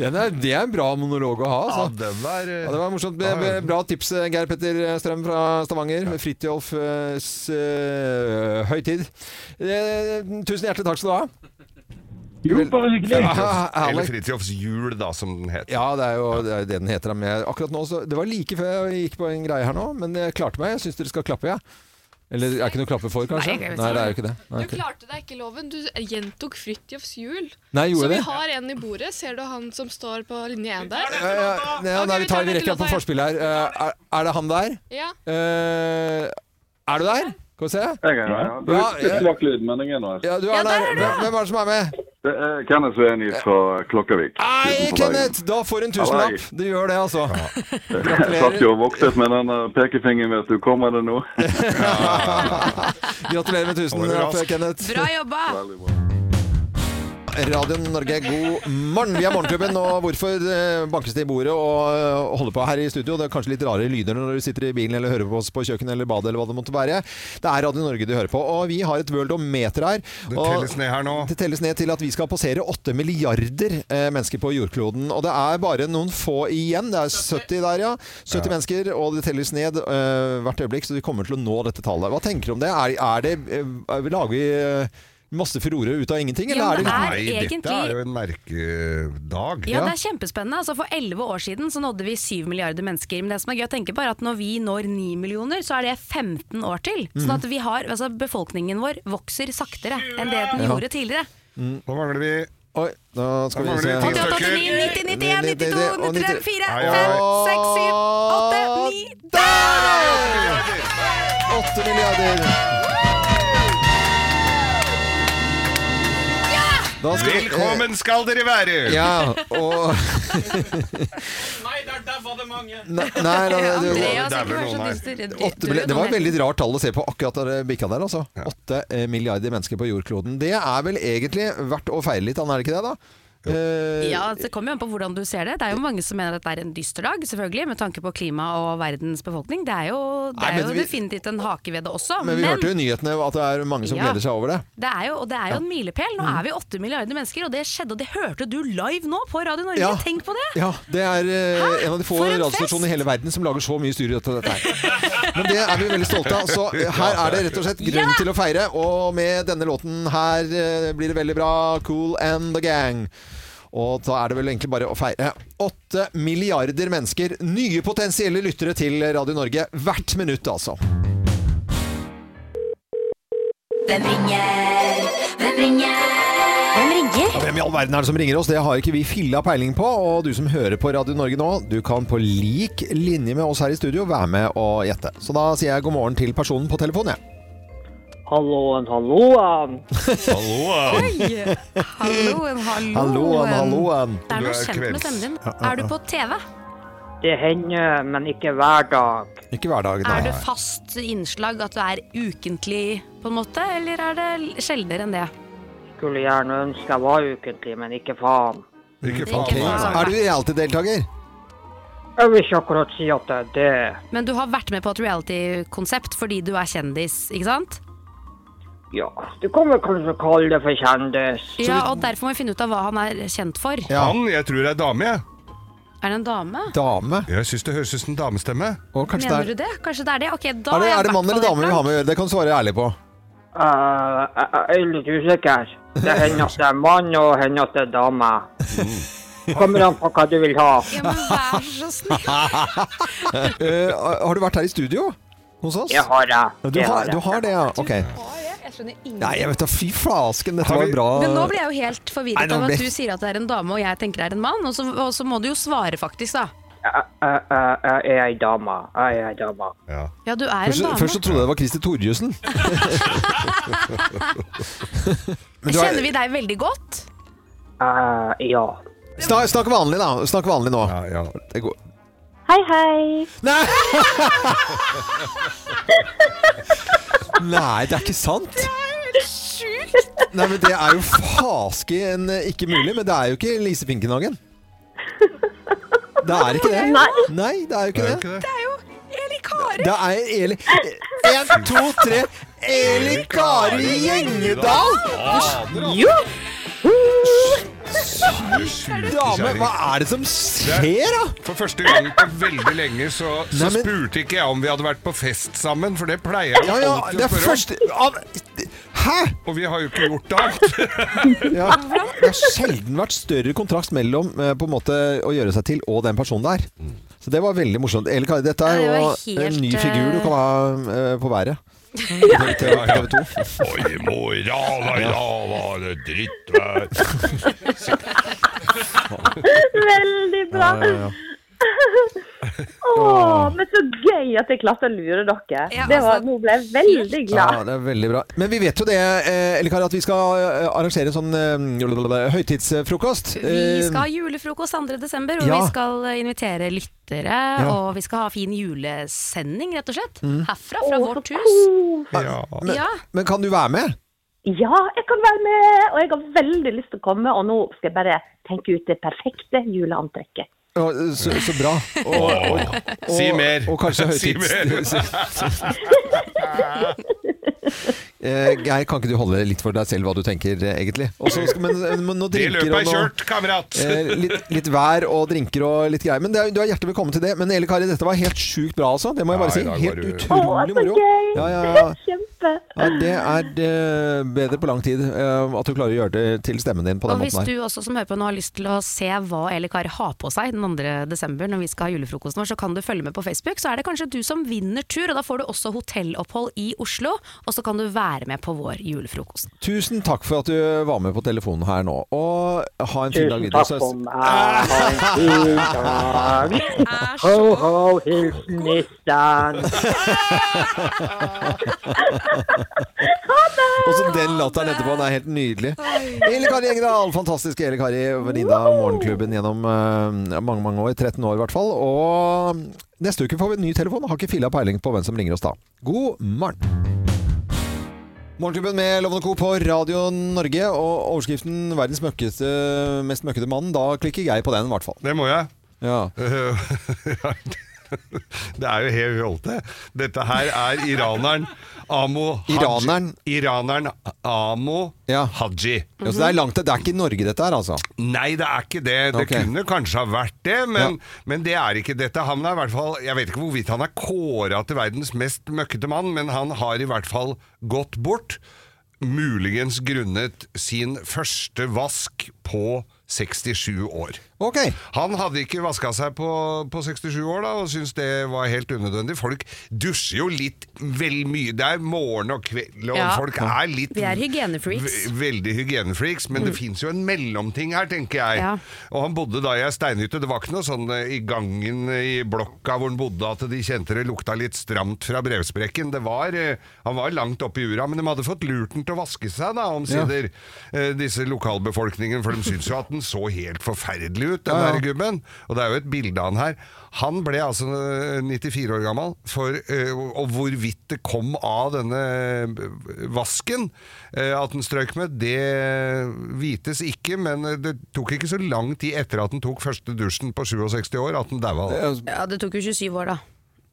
[SPEAKER 1] Den er, det er en bra monolog å ha,
[SPEAKER 2] Ja, eh,
[SPEAKER 1] altså.
[SPEAKER 2] den der
[SPEAKER 1] Ja, det var morsomt. Be- be- Bra tips, eh, Geir Petter Strøm fra Stavanger. Fridtjofs eh, høytid. Eh, tusen hjertelig takk skal du ha.
[SPEAKER 5] Jo, bare hyggelig.
[SPEAKER 1] Ja,
[SPEAKER 2] Eller
[SPEAKER 1] herlig.
[SPEAKER 2] Fridtjofs jul, da, som den het.
[SPEAKER 1] Ja, det er jo det, er jo det den heter. da, Men jeg- akkurat nå, så, det var like før jeg gikk på en greie her nå, men jeg klarte meg. Jeg syns dere skal klappe, jeg. Eller er det ikke noe å klappe for, kanskje?
[SPEAKER 4] Nei, jeg vet
[SPEAKER 1] Nei,
[SPEAKER 4] ikke.
[SPEAKER 1] det er jo ikke det. Nei,
[SPEAKER 3] Du
[SPEAKER 1] ok.
[SPEAKER 3] klarte deg ikke, Loven. Du gjentok Fridtjofs jul.
[SPEAKER 1] Nei
[SPEAKER 3] Så
[SPEAKER 1] gjorde
[SPEAKER 3] vi
[SPEAKER 1] jeg det?
[SPEAKER 3] har en i bordet. Ser du han som står på linje én der?
[SPEAKER 1] Ja, ja, ja,
[SPEAKER 3] Ok,
[SPEAKER 1] nei,
[SPEAKER 3] vi
[SPEAKER 1] vi
[SPEAKER 3] tar
[SPEAKER 1] tar vi
[SPEAKER 3] den
[SPEAKER 1] rekker
[SPEAKER 3] til
[SPEAKER 1] opp på
[SPEAKER 3] Lotte.
[SPEAKER 1] forspill her. Eh, er, er det han der?
[SPEAKER 3] Ja.
[SPEAKER 1] Eh, er du der? Skal vi se.
[SPEAKER 5] Jeg er her.
[SPEAKER 1] Du- Ja, ja.
[SPEAKER 5] slakk lydmeldingen nå.
[SPEAKER 1] Ja, du er der. Hvem er det som er med?
[SPEAKER 5] Det er Kenneth Sveni fra Klokkervik.
[SPEAKER 1] Nei, Kenneth! Da får du en tusenlapp. Du gjør det, altså. Gratulerer.
[SPEAKER 5] og voktet med den eh, pekefingeren. Vet du, kommer det nå?
[SPEAKER 1] Gratulerer med tusenlapp, Kenneth.
[SPEAKER 4] Bra jobba!
[SPEAKER 1] Radio Norge, god morgen. Vi er Morgenklubben, og hvorfor eh, bankes det i bordet og eh, holder på her i studio? Det er kanskje litt rare lyder når du sitter i bilen eller hører på oss på kjøkkenet eller badet eller hva det måtte være. Det er Radio Norge du hører på, og vi har et worldometer her.
[SPEAKER 2] Det
[SPEAKER 1] og-
[SPEAKER 2] telles ned her nå.
[SPEAKER 1] Det telles ned til at vi skal passere 8 milliarder eh, mennesker på jordkloden. Og det er bare noen få igjen. Det er 70 der, ja. 70 mennesker, og det telles ned eh, hvert øyeblikk, så vi kommer til å nå dette tallet. Hva tenker du om det? Er, er det eh, Lager vi eh, masse furore ut av ingenting,
[SPEAKER 4] Ja,
[SPEAKER 1] eller er det liksom-
[SPEAKER 4] men er
[SPEAKER 2] Nei, dette
[SPEAKER 4] egentlig-
[SPEAKER 2] er jo en merkedag.
[SPEAKER 4] Ja, det er kjempespennende. Altså, for elleve år siden så nådde vi syv milliarder mennesker. Men det som er gøy å tenke på er at når vi når ni millioner, så er det 15 år til. Sånn
[SPEAKER 1] Mhm.
[SPEAKER 4] at vi har, altså, befolkningen vår vokser saktere enn det den gjorde tidligere.
[SPEAKER 2] Nå mangler vi
[SPEAKER 1] Oi, da skal vi
[SPEAKER 2] Da
[SPEAKER 1] se
[SPEAKER 2] mangler vi
[SPEAKER 4] 88, 89, 90, 91, 92, 93, 4, 5, 6, 7, 8, 9
[SPEAKER 1] 8 milliarder! Da skal vi-
[SPEAKER 2] Velkommen skal dere være!
[SPEAKER 1] Ja, og Nei, der, var det mange! Nei, nei, nei,
[SPEAKER 4] Andreas
[SPEAKER 2] Det er
[SPEAKER 4] ikke
[SPEAKER 2] vel
[SPEAKER 4] vær så
[SPEAKER 2] noen her.
[SPEAKER 4] dyster.
[SPEAKER 1] det, åtte, milliarder- det var et veldig rart tall å se på akkurat der bikka der, altså. Åtte eh, milliarder mennesker på jordkloden. Det er vel egentlig verdt å feire litt, Anne, er det ikke det, da? Eh,
[SPEAKER 4] Ja, altså, Det kommer jo an på hvordan du ser det. Det er jo mange som mener at det er en dyster dag, selvfølgelig, med tanke på klima og verdens befolkning. Det er jo, det
[SPEAKER 1] Nei,
[SPEAKER 4] er
[SPEAKER 1] men
[SPEAKER 4] jo
[SPEAKER 1] vi-
[SPEAKER 4] definitivt en hake ved det også.
[SPEAKER 1] men vi hørte jo i nyhetene at det er mange som
[SPEAKER 4] Ja.
[SPEAKER 1] gleder seg over det.
[SPEAKER 4] Det er jo, og det er jo en milepæl.
[SPEAKER 1] Mm.
[SPEAKER 4] Nå er vi åtte milliarder mennesker, og det skjedde, og det hørte du live nå på Radio Norge.
[SPEAKER 1] Ja.
[SPEAKER 4] Tenk på det!
[SPEAKER 1] Ja, det er eh,
[SPEAKER 4] Hæ?
[SPEAKER 1] en av de få
[SPEAKER 4] For en
[SPEAKER 1] radiostasjonene i hele verden som lager så mye styr i dette. dette her. Men det er vi veldig stolte av. Så her er det rett og slett grunn til å feire. Og med denne låten her eh, blir det veldig bra. Cool and the Gang. Og da er det vel egentlig bare å feire. Åtte milliarder mennesker, nye potensielle lyttere til Radio Norge hvert minutt, altså.
[SPEAKER 10] Hvem ringer? Hvem ringer? Hvem ringer?
[SPEAKER 1] Ja, Hvem i all verden er det som ringer oss? Det har ikke vi filla peiling på. Og du som hører på Radio Norge nå, du kan på lik linje med oss her i studio være med og gjette. Så da sier jeg god morgen til personen på telefonen, jeg.
[SPEAKER 11] Halloen, halloen.
[SPEAKER 1] Halloen.
[SPEAKER 4] Halloen, halloen.
[SPEAKER 1] Halloen, halloen.
[SPEAKER 4] Det er noe kjent med stemmen din.
[SPEAKER 1] Ja, ja,
[SPEAKER 4] Er du på TV?
[SPEAKER 11] Det hender, men ikke hver dag.
[SPEAKER 1] ja. Ikke hver dag,
[SPEAKER 4] Er det
[SPEAKER 1] nei.
[SPEAKER 4] fast innslag at du er ukentlig, på en måte, eller er det l- sjeldnere enn det?
[SPEAKER 11] Skulle gjerne ønske jeg var ukentlig, men ikke faen.
[SPEAKER 1] Ikke
[SPEAKER 4] faen, Ikke nei. faen.
[SPEAKER 1] Er du reality-deltaker?
[SPEAKER 11] Jeg vil ikke akkurat si at det er det.
[SPEAKER 4] Men du har vært med på et reality-konsept fordi du er kjendis, ikke sant?
[SPEAKER 11] Ja, du kan vel kanskje kalle det for kjendis.
[SPEAKER 4] Ja, og derfor må vi finne ut av hva han er kjent for.
[SPEAKER 2] Han, jeg tror det er dame, jeg.
[SPEAKER 4] Er det en dame?
[SPEAKER 1] Dame?
[SPEAKER 2] Jeg syns det høres ut som en damestemme.
[SPEAKER 4] Mener du det? Kanskje det er det? Ok, da
[SPEAKER 1] Er det,
[SPEAKER 4] har jeg
[SPEAKER 1] er det mann
[SPEAKER 4] vært
[SPEAKER 1] eller
[SPEAKER 4] på
[SPEAKER 1] dame vi har med å gjøre? Det kan du svare ærlig på.
[SPEAKER 11] Eh, jeg jeg er litt usikker. Det hender at det er mann, og hender at det er dame.
[SPEAKER 1] Mm.
[SPEAKER 11] Kommer an på hva du vil ha.
[SPEAKER 4] Ja, men vær så snill.
[SPEAKER 1] Eh, har du vært her i studio hos oss?
[SPEAKER 11] Jeg har det.
[SPEAKER 1] Du
[SPEAKER 11] Det har
[SPEAKER 1] har,
[SPEAKER 11] jeg.
[SPEAKER 1] du har det, ja. Ok.
[SPEAKER 4] Jeg skjønner ingenting.
[SPEAKER 1] Nei, jeg vet da, fy flasken, dette var bra.
[SPEAKER 4] Men nå ble jeg jo helt
[SPEAKER 1] Nei,
[SPEAKER 4] forvirret
[SPEAKER 1] nå
[SPEAKER 4] av
[SPEAKER 1] ble-
[SPEAKER 4] at du sier at det er en dame, og jeg tenker det er en mann, og så, og så må du jo svare faktisk, da.
[SPEAKER 11] Jeg, jeg, jeg er ei dame. Jeg er ei dame.
[SPEAKER 4] Ja, du er
[SPEAKER 1] Først,
[SPEAKER 4] en dame.
[SPEAKER 1] først så trodde jeg det var Christer Torjussen. Men du er-
[SPEAKER 4] Kjenner vi deg veldig godt?
[SPEAKER 11] ja.
[SPEAKER 1] Snak, snakk vanlig, da. Snakk vanlig nå. Det går.
[SPEAKER 6] Hei, hei.
[SPEAKER 1] Nei! Nei, det er ikke sant. Nei, men Det er jo fasken ikke mulig. Men det er jo ikke Lise Finkenhagen. Det er ikke det.
[SPEAKER 6] Nei.
[SPEAKER 1] Nei, det er jo ikke det.
[SPEAKER 6] Det er jo Eli Kari.
[SPEAKER 1] Det er Eli En, to, tre. Eli Kari Gjengedal!
[SPEAKER 2] Ah,
[SPEAKER 1] Jo! Dame, hva er det som skjer, da?
[SPEAKER 2] For første gang på veldig lenge så, så
[SPEAKER 1] Nei, men-
[SPEAKER 2] spurte ikke jeg om vi hadde vært på fest sammen, for det pleier jeg
[SPEAKER 1] Ja, ja,
[SPEAKER 2] alltid
[SPEAKER 1] det
[SPEAKER 2] å
[SPEAKER 1] er
[SPEAKER 2] spørre
[SPEAKER 1] første av, Hæ?!
[SPEAKER 2] Og vi har jo ikke gjort alt.
[SPEAKER 1] Ja, det har sjelden vært større kontrast mellom eh, på en måte å gjøre seg til og den personen der. Så det var veldig morsomt. Eli Kari, dette er
[SPEAKER 4] Ja, det
[SPEAKER 1] jo
[SPEAKER 4] var helt,
[SPEAKER 1] en ny figur du kan ha eh, på været. TV 2.
[SPEAKER 2] Oi, moral, i dag var det drittvær.
[SPEAKER 6] Veldig bra.
[SPEAKER 2] Ja, ja, ja.
[SPEAKER 6] Åh, men så gøy at jeg klarte å lure dere.
[SPEAKER 4] Ja,
[SPEAKER 6] det var,
[SPEAKER 4] altså-
[SPEAKER 6] nå ble jeg veldig
[SPEAKER 1] Ja,
[SPEAKER 6] glad.
[SPEAKER 1] det er veldig bra. Men vi vet jo det, eh, Eli Kari, at vi skal eh, arrangere en sånn eh, høytidsfrokost.
[SPEAKER 4] Vi
[SPEAKER 1] Eh,
[SPEAKER 4] skal ha julefrokost 2. desember, og
[SPEAKER 1] ja.
[SPEAKER 4] vi skal eh, invitere lyttere.
[SPEAKER 1] Ja.
[SPEAKER 4] Og vi skal ha fin julesending, rett og slett.
[SPEAKER 1] Mm.
[SPEAKER 4] Herfra, fra vårt hus.
[SPEAKER 1] Men,
[SPEAKER 4] Ja.
[SPEAKER 1] Eh, men kan du være med?
[SPEAKER 6] Ja, jeg kan være med, og jeg har veldig lyst til å komme. Og nå skal jeg bare tenke ut det perfekte juleantrekket.
[SPEAKER 1] Å, Så, så bra. Og, og, og,
[SPEAKER 2] Si mer.
[SPEAKER 1] Og kanskje
[SPEAKER 2] Si
[SPEAKER 1] høytids... Eh, Geir, kan ikke du holde litt for deg selv hva du tenker, eh, egentlig? Og så skal, men, men nå
[SPEAKER 2] Det
[SPEAKER 1] drinker
[SPEAKER 2] løpet
[SPEAKER 1] og
[SPEAKER 2] er
[SPEAKER 1] nå-
[SPEAKER 2] kjørt, kamerat!
[SPEAKER 1] Eh, litt, litt vær og drinker og litt greier. Men det er, du er hjertelig velkommen til det. Men Eli Kari, dette var helt sjukt bra, altså. Det må jeg
[SPEAKER 2] Ja,
[SPEAKER 1] bare
[SPEAKER 2] i
[SPEAKER 1] si.
[SPEAKER 2] dag var
[SPEAKER 1] Helt
[SPEAKER 2] du-
[SPEAKER 1] utrolig
[SPEAKER 6] så
[SPEAKER 1] moro.
[SPEAKER 6] gøy!
[SPEAKER 1] Ja, ja,
[SPEAKER 6] Det
[SPEAKER 1] ja.
[SPEAKER 6] er kjempe.
[SPEAKER 1] Ja, det er eh, bedre på lang tid eh, at du klarer å gjøre det til stemmen din på
[SPEAKER 4] Og
[SPEAKER 1] den
[SPEAKER 4] hvis
[SPEAKER 1] måten
[SPEAKER 4] du
[SPEAKER 1] her.
[SPEAKER 4] også som hører på nå har lyst til å se hva Eli Kari har på seg den 2. desember når vi skal ha julefrokosten vår, så kan du følge med på Facebook. Så er det kanskje du som vinner tur, og da får du også hotellopphold i Oslo. Og så kan du være med på vår julefrokost.
[SPEAKER 1] Tusen takk for at du var med på telefonen her nå. Og ha en fin dag
[SPEAKER 11] Tusen
[SPEAKER 1] videre.
[SPEAKER 11] takk for meg. Ha en fin dag. Ho, ho, hilsen nissen.
[SPEAKER 1] Og så den latteren etterpå, den er helt nydelig. Eli Kari Engedal, fantastiske Eli Kari, venninne av Morgenklubben gjennom eh, mange mange år. 13 år i hvert fall. Og neste uke får vi en ny telefon. Har ikke filla peiling på hvem som ringer oss da. God morgen. Morgenklubben med Lovende Co. på Radio Norge og overskriften 'Verdens møkkete, mest møkkete mann'. Da klikker jeg på den, i hvert fall.
[SPEAKER 2] Det må jeg.
[SPEAKER 1] Ja.
[SPEAKER 2] Det er jo helt rolte. Dette her er iraneren Amo Haji.
[SPEAKER 1] Iraneren?
[SPEAKER 2] Iraneren Amo Haji.
[SPEAKER 1] Ja, så det er langt Det er ikke i Norge, dette her, altså?
[SPEAKER 2] Nei, det er ikke det. Det
[SPEAKER 1] Ok.
[SPEAKER 2] kunne kanskje ha vært det, men, men det er ikke dette. Han er i hvert fall Jeg vet ikke hvorvidt han er kåra til verdens mest møkkete mann, men han har i hvert fall gått bort. Muligens grunnet sin første vask på 67 år.
[SPEAKER 1] Ok.
[SPEAKER 2] Han hadde ikke vaska seg på, på 67 år da, og syntes det var helt unødvendig. Folk dusjer jo litt vel mye. Det er morgen og kveld, og
[SPEAKER 4] Ja.
[SPEAKER 2] folk er litt
[SPEAKER 4] Vi er hygienefreaks. Mm.
[SPEAKER 2] v- veldig hygienefreaks, men det fins jo en mellomting her, tenker jeg.
[SPEAKER 4] Ja.
[SPEAKER 2] Og han bodde da i ei steinhytte. Det var ikke noe sånn eh, i gangen i blokka hvor han bodde at de kjente det lukta litt stramt fra brevsprekken. Det var, eh, han var langt oppe i ura, men de hadde fått lurt den til å vaske seg, da, omsider. eh, Disse lokalbefolkningen, for de syntes jo at den så helt forferdelig ut, den
[SPEAKER 1] Ja, ja.
[SPEAKER 2] der gubben. Og det er jo et bilde av han her. Han ble altså eh, 94 år gammel, for, eh, og hvorvidt det kom av denne eh, vasken eh, at den strøk med, det vites ikke, men eh, det tok ikke så lang tid etter at den tok første dusjen på 67 år, at den daua.
[SPEAKER 4] Ja, det tok jo 27 år, da.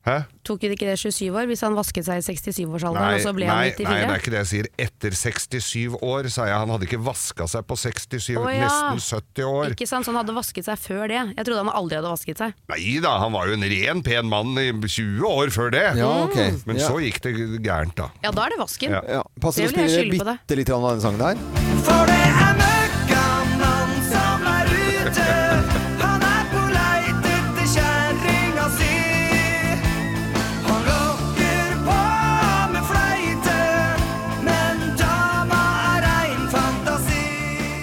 [SPEAKER 2] Hæ?
[SPEAKER 4] Tok det ikke det 27 år hvis han vasket seg i 67-årsalderen, og så ble
[SPEAKER 2] nei,
[SPEAKER 4] han 94?
[SPEAKER 2] nei, det er ikke det jeg sier. Etter 67 år, sa jeg. Han hadde ikke vaska seg på 67,
[SPEAKER 4] Å, ja.
[SPEAKER 2] nesten 70 år.
[SPEAKER 4] Ikke sant, så han hadde vasket seg før det. Jeg trodde han aldri hadde vasket seg.
[SPEAKER 2] Nei da, han var jo en ren, pen mann i 20 år før det.
[SPEAKER 1] Ja, ok.
[SPEAKER 2] Men så gikk det gærent, da.
[SPEAKER 4] Ja, da er det vasken.
[SPEAKER 2] Ja.
[SPEAKER 1] Ja, passer å
[SPEAKER 4] det vil jeg
[SPEAKER 1] spille
[SPEAKER 4] skylde på deg.
[SPEAKER 1] bitte litt grann av den sangen der.
[SPEAKER 12] For det er møkkamann som er ute. Han er på leit etter kjerringa si. Han lokker på med fleite, men dama er rein fantasi.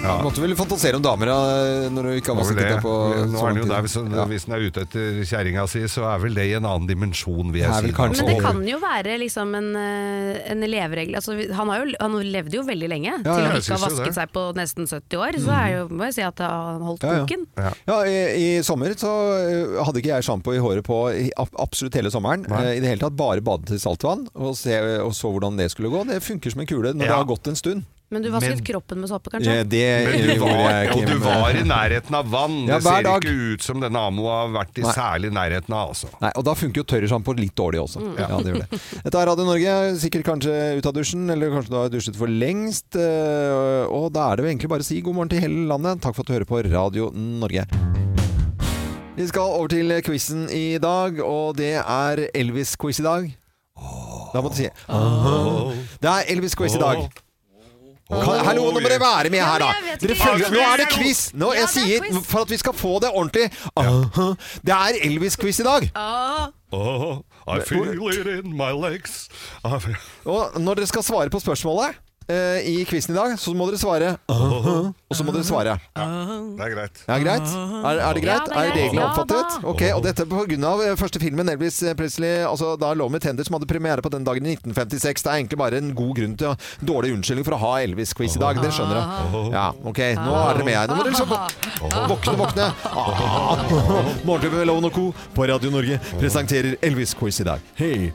[SPEAKER 2] Ja.
[SPEAKER 1] Du måtte vel fantasere om damer eh, når du ikke har vasket
[SPEAKER 2] Det
[SPEAKER 1] deg
[SPEAKER 2] var
[SPEAKER 1] på
[SPEAKER 2] vel det. Nå
[SPEAKER 1] så lang
[SPEAKER 2] er det jo
[SPEAKER 1] tid.
[SPEAKER 2] der, hvis, den-
[SPEAKER 1] Ja.
[SPEAKER 2] hvis den er ute etter kjerringa si, så er vel det i en annen dimensjon, vil jeg
[SPEAKER 1] Det er
[SPEAKER 2] si.
[SPEAKER 1] vel kanskje
[SPEAKER 4] Men det kan jo være liksom en, eh, en leveregel. Altså, vi- han, har jo, han levde jo veldig lenge,
[SPEAKER 1] Ja,
[SPEAKER 4] til
[SPEAKER 1] ja,
[SPEAKER 4] han
[SPEAKER 1] jeg
[SPEAKER 4] ikke har
[SPEAKER 1] synes jo
[SPEAKER 4] vasket
[SPEAKER 1] det. Mm.
[SPEAKER 4] seg på nesten 70 år. Så er jo, må jeg si at han holdt
[SPEAKER 1] Ja, ja.
[SPEAKER 4] koken.
[SPEAKER 2] Ja.
[SPEAKER 1] i, I sommer så eh, hadde ikke jeg sjampo i håret på i, ab- absolutt hele sommeren.
[SPEAKER 2] Nei.
[SPEAKER 1] Eh, I det hele tatt bare badet i saltvann og, se, og så hvordan det skulle gå. Det funker som en kule når det har gått en stund.
[SPEAKER 4] Men du vasket
[SPEAKER 1] Men-
[SPEAKER 4] kroppen med såpe,
[SPEAKER 1] Ja,
[SPEAKER 4] kanskje?
[SPEAKER 1] det
[SPEAKER 2] Men du
[SPEAKER 1] gjorde
[SPEAKER 2] var,
[SPEAKER 1] jeg
[SPEAKER 2] og
[SPEAKER 1] ikke,
[SPEAKER 2] du
[SPEAKER 1] men-
[SPEAKER 2] var i nærheten av vann.
[SPEAKER 1] Ja,
[SPEAKER 2] det
[SPEAKER 1] hver
[SPEAKER 2] ser
[SPEAKER 1] dag.
[SPEAKER 2] ikke ut som denne Amo har vært i
[SPEAKER 1] Nei.
[SPEAKER 2] særlig nærheten av, altså.
[SPEAKER 1] Nei, og da funker jo tørrsjampo litt dårlig også.
[SPEAKER 2] Mm.
[SPEAKER 1] Ja, det gjør det. Dette er Radio Norge, sikkert kanskje ut av dusjen, eller kanskje du har dusjet for lengst. eh, Og da er det jo egentlig bare å si god morgen til hele landet. Takk for at du hører på Radio Norge. Vi skal over til quizen i dag, og det er Elvis-quiz i dag. Da måtte jeg si Det er Elvis-quiz i dag. Kan, hallo, nå må dere være med her,
[SPEAKER 12] men
[SPEAKER 1] da.
[SPEAKER 12] jeg vet
[SPEAKER 1] Dere
[SPEAKER 12] ikke.
[SPEAKER 1] følger, nå er det
[SPEAKER 12] Hallo.
[SPEAKER 1] quiz! Nå, jeg sier, for at vi skal få det ordentlig Aha. Det er Elvis-quiz i dag!
[SPEAKER 2] Oh, I feel it in my legs. Ah,
[SPEAKER 1] Og når dere skal svare på spørsmålet eh, i quizen i dag, så må dere svare «Aha», Og så må dere svare.
[SPEAKER 4] Ah.
[SPEAKER 2] Det er greit.
[SPEAKER 1] Ja, greit? Er, er det greit?
[SPEAKER 2] Ja, det er
[SPEAKER 1] er reglene
[SPEAKER 2] greit.
[SPEAKER 1] oppfattet?
[SPEAKER 2] Ja da.
[SPEAKER 1] Ok, og dette er pga. eh, første filmen Elvis Presley altså da lå med tender, som hadde premiere på den dagen i 1956. Det er egentlig bare en god grunn til å- dårlig unnskyldning for å ha Elvis-quiz i dag. Dere skjønner det?
[SPEAKER 2] Ah.
[SPEAKER 1] Ja, ok, nå er dere med her. Nå må dere liksom våkne, våkne. Ah, Morgenklubben med Loven og Co. på Radio Norge presenterer Elvis-quiz i dag. Hei!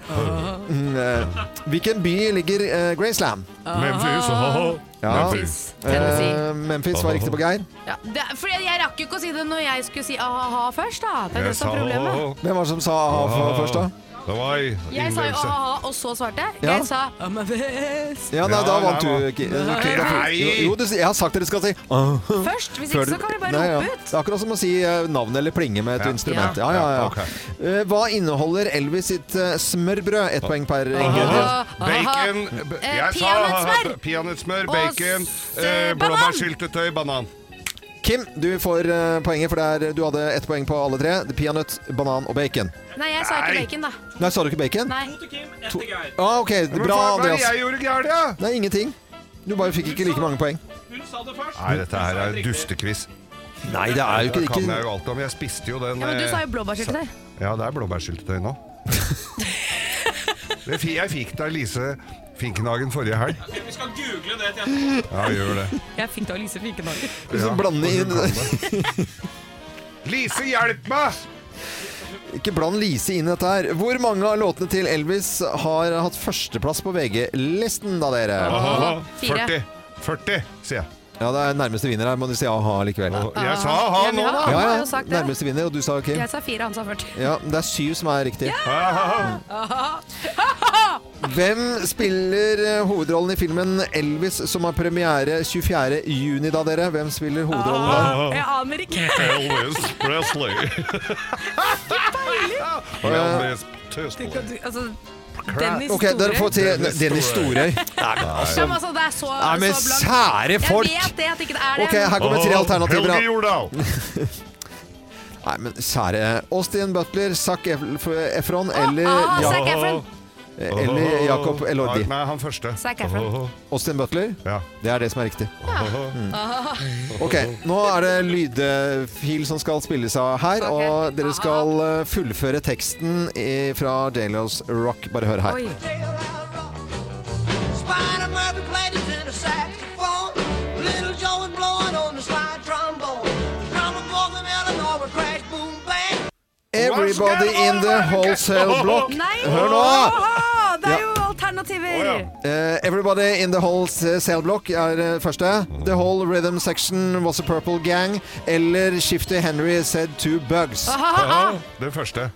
[SPEAKER 1] Mm, eh, Hvilken by ligger eh, Graceland?
[SPEAKER 4] Memphis, ah. Memphis,
[SPEAKER 1] Eh,
[SPEAKER 4] Tennessee.
[SPEAKER 1] Memphis var riktig på Geir.
[SPEAKER 4] Ja, det, er- fordi jeg rakk jo ikke å si det når jeg skulle si aha først, da. Det er det
[SPEAKER 2] Jeg
[SPEAKER 4] som er
[SPEAKER 2] sa
[SPEAKER 4] problemet.
[SPEAKER 2] aha.
[SPEAKER 1] Hvem var det som sa aha for- først, da?
[SPEAKER 2] Eh, Det var jeg.
[SPEAKER 4] Jeg sa jo
[SPEAKER 2] Innlevelse.
[SPEAKER 4] aha, og så svarte jeg.
[SPEAKER 1] Ja.
[SPEAKER 4] Jeg sa Amavis.
[SPEAKER 1] Ja, nei, da vant
[SPEAKER 2] Ja,
[SPEAKER 1] du.
[SPEAKER 2] nei,
[SPEAKER 1] Ki-
[SPEAKER 2] nei.
[SPEAKER 1] Ki-
[SPEAKER 2] Nei.
[SPEAKER 1] Jo, jo, du- jeg har sagt at dere skal si
[SPEAKER 4] Først, hvis
[SPEAKER 1] Før
[SPEAKER 4] ikke
[SPEAKER 1] du-
[SPEAKER 4] så kan vi bare
[SPEAKER 1] Nei, ja.
[SPEAKER 4] rope ut.
[SPEAKER 1] Det er akkurat som å si eh, navn eller plinge med et
[SPEAKER 2] Ja.
[SPEAKER 1] instrument. Ja,
[SPEAKER 2] Ja.
[SPEAKER 1] ja, ja.
[SPEAKER 2] Ja, ok.
[SPEAKER 1] Eh, Hva inneholder Elvis sitt eh, smørbrød? Ett poeng per
[SPEAKER 2] Aha,
[SPEAKER 1] ingrediens.
[SPEAKER 2] Bacon b-
[SPEAKER 4] Eh,
[SPEAKER 2] jeg sa
[SPEAKER 4] peanøttsmør.
[SPEAKER 2] aha, Peanøttsmør,
[SPEAKER 4] Og
[SPEAKER 2] bacon,
[SPEAKER 4] s-
[SPEAKER 2] eh,
[SPEAKER 4] banan.
[SPEAKER 2] blåbærsyltetøy, banan.
[SPEAKER 1] Kim, du får eh, poenget, for det er, du hadde ett poeng på alle tre. Peanøtt, banan og bacon.
[SPEAKER 4] Nei, jeg sa ikke
[SPEAKER 1] Nei.
[SPEAKER 4] bacon, da.
[SPEAKER 1] Nei, sa du ikke bacon?
[SPEAKER 4] Nei.
[SPEAKER 1] Ah, ok,
[SPEAKER 2] Men
[SPEAKER 1] Bra,
[SPEAKER 2] hva- hva er det
[SPEAKER 1] Andreas.
[SPEAKER 2] jeg gjorde gærent, da?
[SPEAKER 1] Nei, ingenting. Du bare fikk ikke like mange poeng.
[SPEAKER 2] Hun sa det først. Nei, dette her er en dustekviss.
[SPEAKER 1] Nei, det er jo ikke-
[SPEAKER 2] Det kan
[SPEAKER 1] ikke-
[SPEAKER 2] jeg jo alt om. Jeg spiste jo den
[SPEAKER 4] Ja, men du
[SPEAKER 2] eh,
[SPEAKER 4] sa jo blåbærsyltetøy.
[SPEAKER 2] Ja, det er blåbærsyltetøy nå. Det fi- jeg fikk det av Lise Finkenhagen forrige helg.
[SPEAKER 12] Vi skal google det til
[SPEAKER 2] Ja, gjør det.
[SPEAKER 4] Jeg fikk det av Lise Finkenhagen.
[SPEAKER 1] Liksom blande inn
[SPEAKER 2] Lise, hjelp meg!
[SPEAKER 1] Ikke bland Lise inn i dette her. Hvor mange av låtene til Elvis har hatt førsteplass på VG-listen, da, dere?
[SPEAKER 2] Aha, Fire. 40. 40, sier jeg.
[SPEAKER 1] Ja, det er nærmeste vinner her, må du si aha likevel.
[SPEAKER 2] Jeg sa aha
[SPEAKER 4] Ja, men
[SPEAKER 2] nå,
[SPEAKER 4] han-
[SPEAKER 2] da!
[SPEAKER 4] han
[SPEAKER 1] Ja,
[SPEAKER 4] har
[SPEAKER 1] ja.
[SPEAKER 4] jo sagt det.
[SPEAKER 1] Nærmeste vinner, og du sa Kim.
[SPEAKER 4] Jeg sa fire, han sa 40.
[SPEAKER 1] Ja, det er syv som er riktig.
[SPEAKER 4] Aha.
[SPEAKER 1] Hvem spiller eh, hovedrollen i filmen Elvis som har premiere 24. juni da, dere? Hvem spiller
[SPEAKER 4] Ah.
[SPEAKER 1] hovedrollen der?
[SPEAKER 4] Jeg aner ikke.
[SPEAKER 2] Elvis Presley.
[SPEAKER 1] Eh,
[SPEAKER 2] Elvis Tøs på det.
[SPEAKER 4] Altså,
[SPEAKER 1] Dennis Ok, dere får til Dennis Storøy.
[SPEAKER 4] Ja, men altså, det er så,
[SPEAKER 1] Nei, men
[SPEAKER 4] så blankt.
[SPEAKER 1] sære folk!
[SPEAKER 4] Jeg vet det, at ikke det er det.
[SPEAKER 1] Ok, her kommer tre
[SPEAKER 2] Åh,
[SPEAKER 1] alternativer.
[SPEAKER 2] Helge
[SPEAKER 1] Nei, men sære Austin Butler, Zac Ef- Efron eller
[SPEAKER 4] ah,
[SPEAKER 1] Ja-
[SPEAKER 4] Zac Efron.
[SPEAKER 1] Eller Jacob Elordi.
[SPEAKER 2] Nei, han første.
[SPEAKER 4] Zac Efron.
[SPEAKER 1] Austin Butler? Det er det som er riktig. Mm.
[SPEAKER 4] Ah.
[SPEAKER 1] Ok, nå er det lydfil som skal spilles av her, og
[SPEAKER 4] Ah.
[SPEAKER 1] dere skal eh, fullføre teksten i, fra J-Los Rock. Bare hør her.
[SPEAKER 12] Spinal Murphy played his inner saxophone. Little Joe was blowing on the slide trombone. Drummer boys in Illinois would crash, boom, bang.
[SPEAKER 1] Everybody in the wholesale block.
[SPEAKER 4] Nei!
[SPEAKER 1] Hør nå!
[SPEAKER 4] Åh, det
[SPEAKER 1] Ja.
[SPEAKER 4] er jo alternativer!
[SPEAKER 1] Eh, everybody in the wholesale block er eh, første. The whole rhythm section was a purple gang. Eller Shifty Henry said two bugs.
[SPEAKER 4] Ah,
[SPEAKER 2] Den første.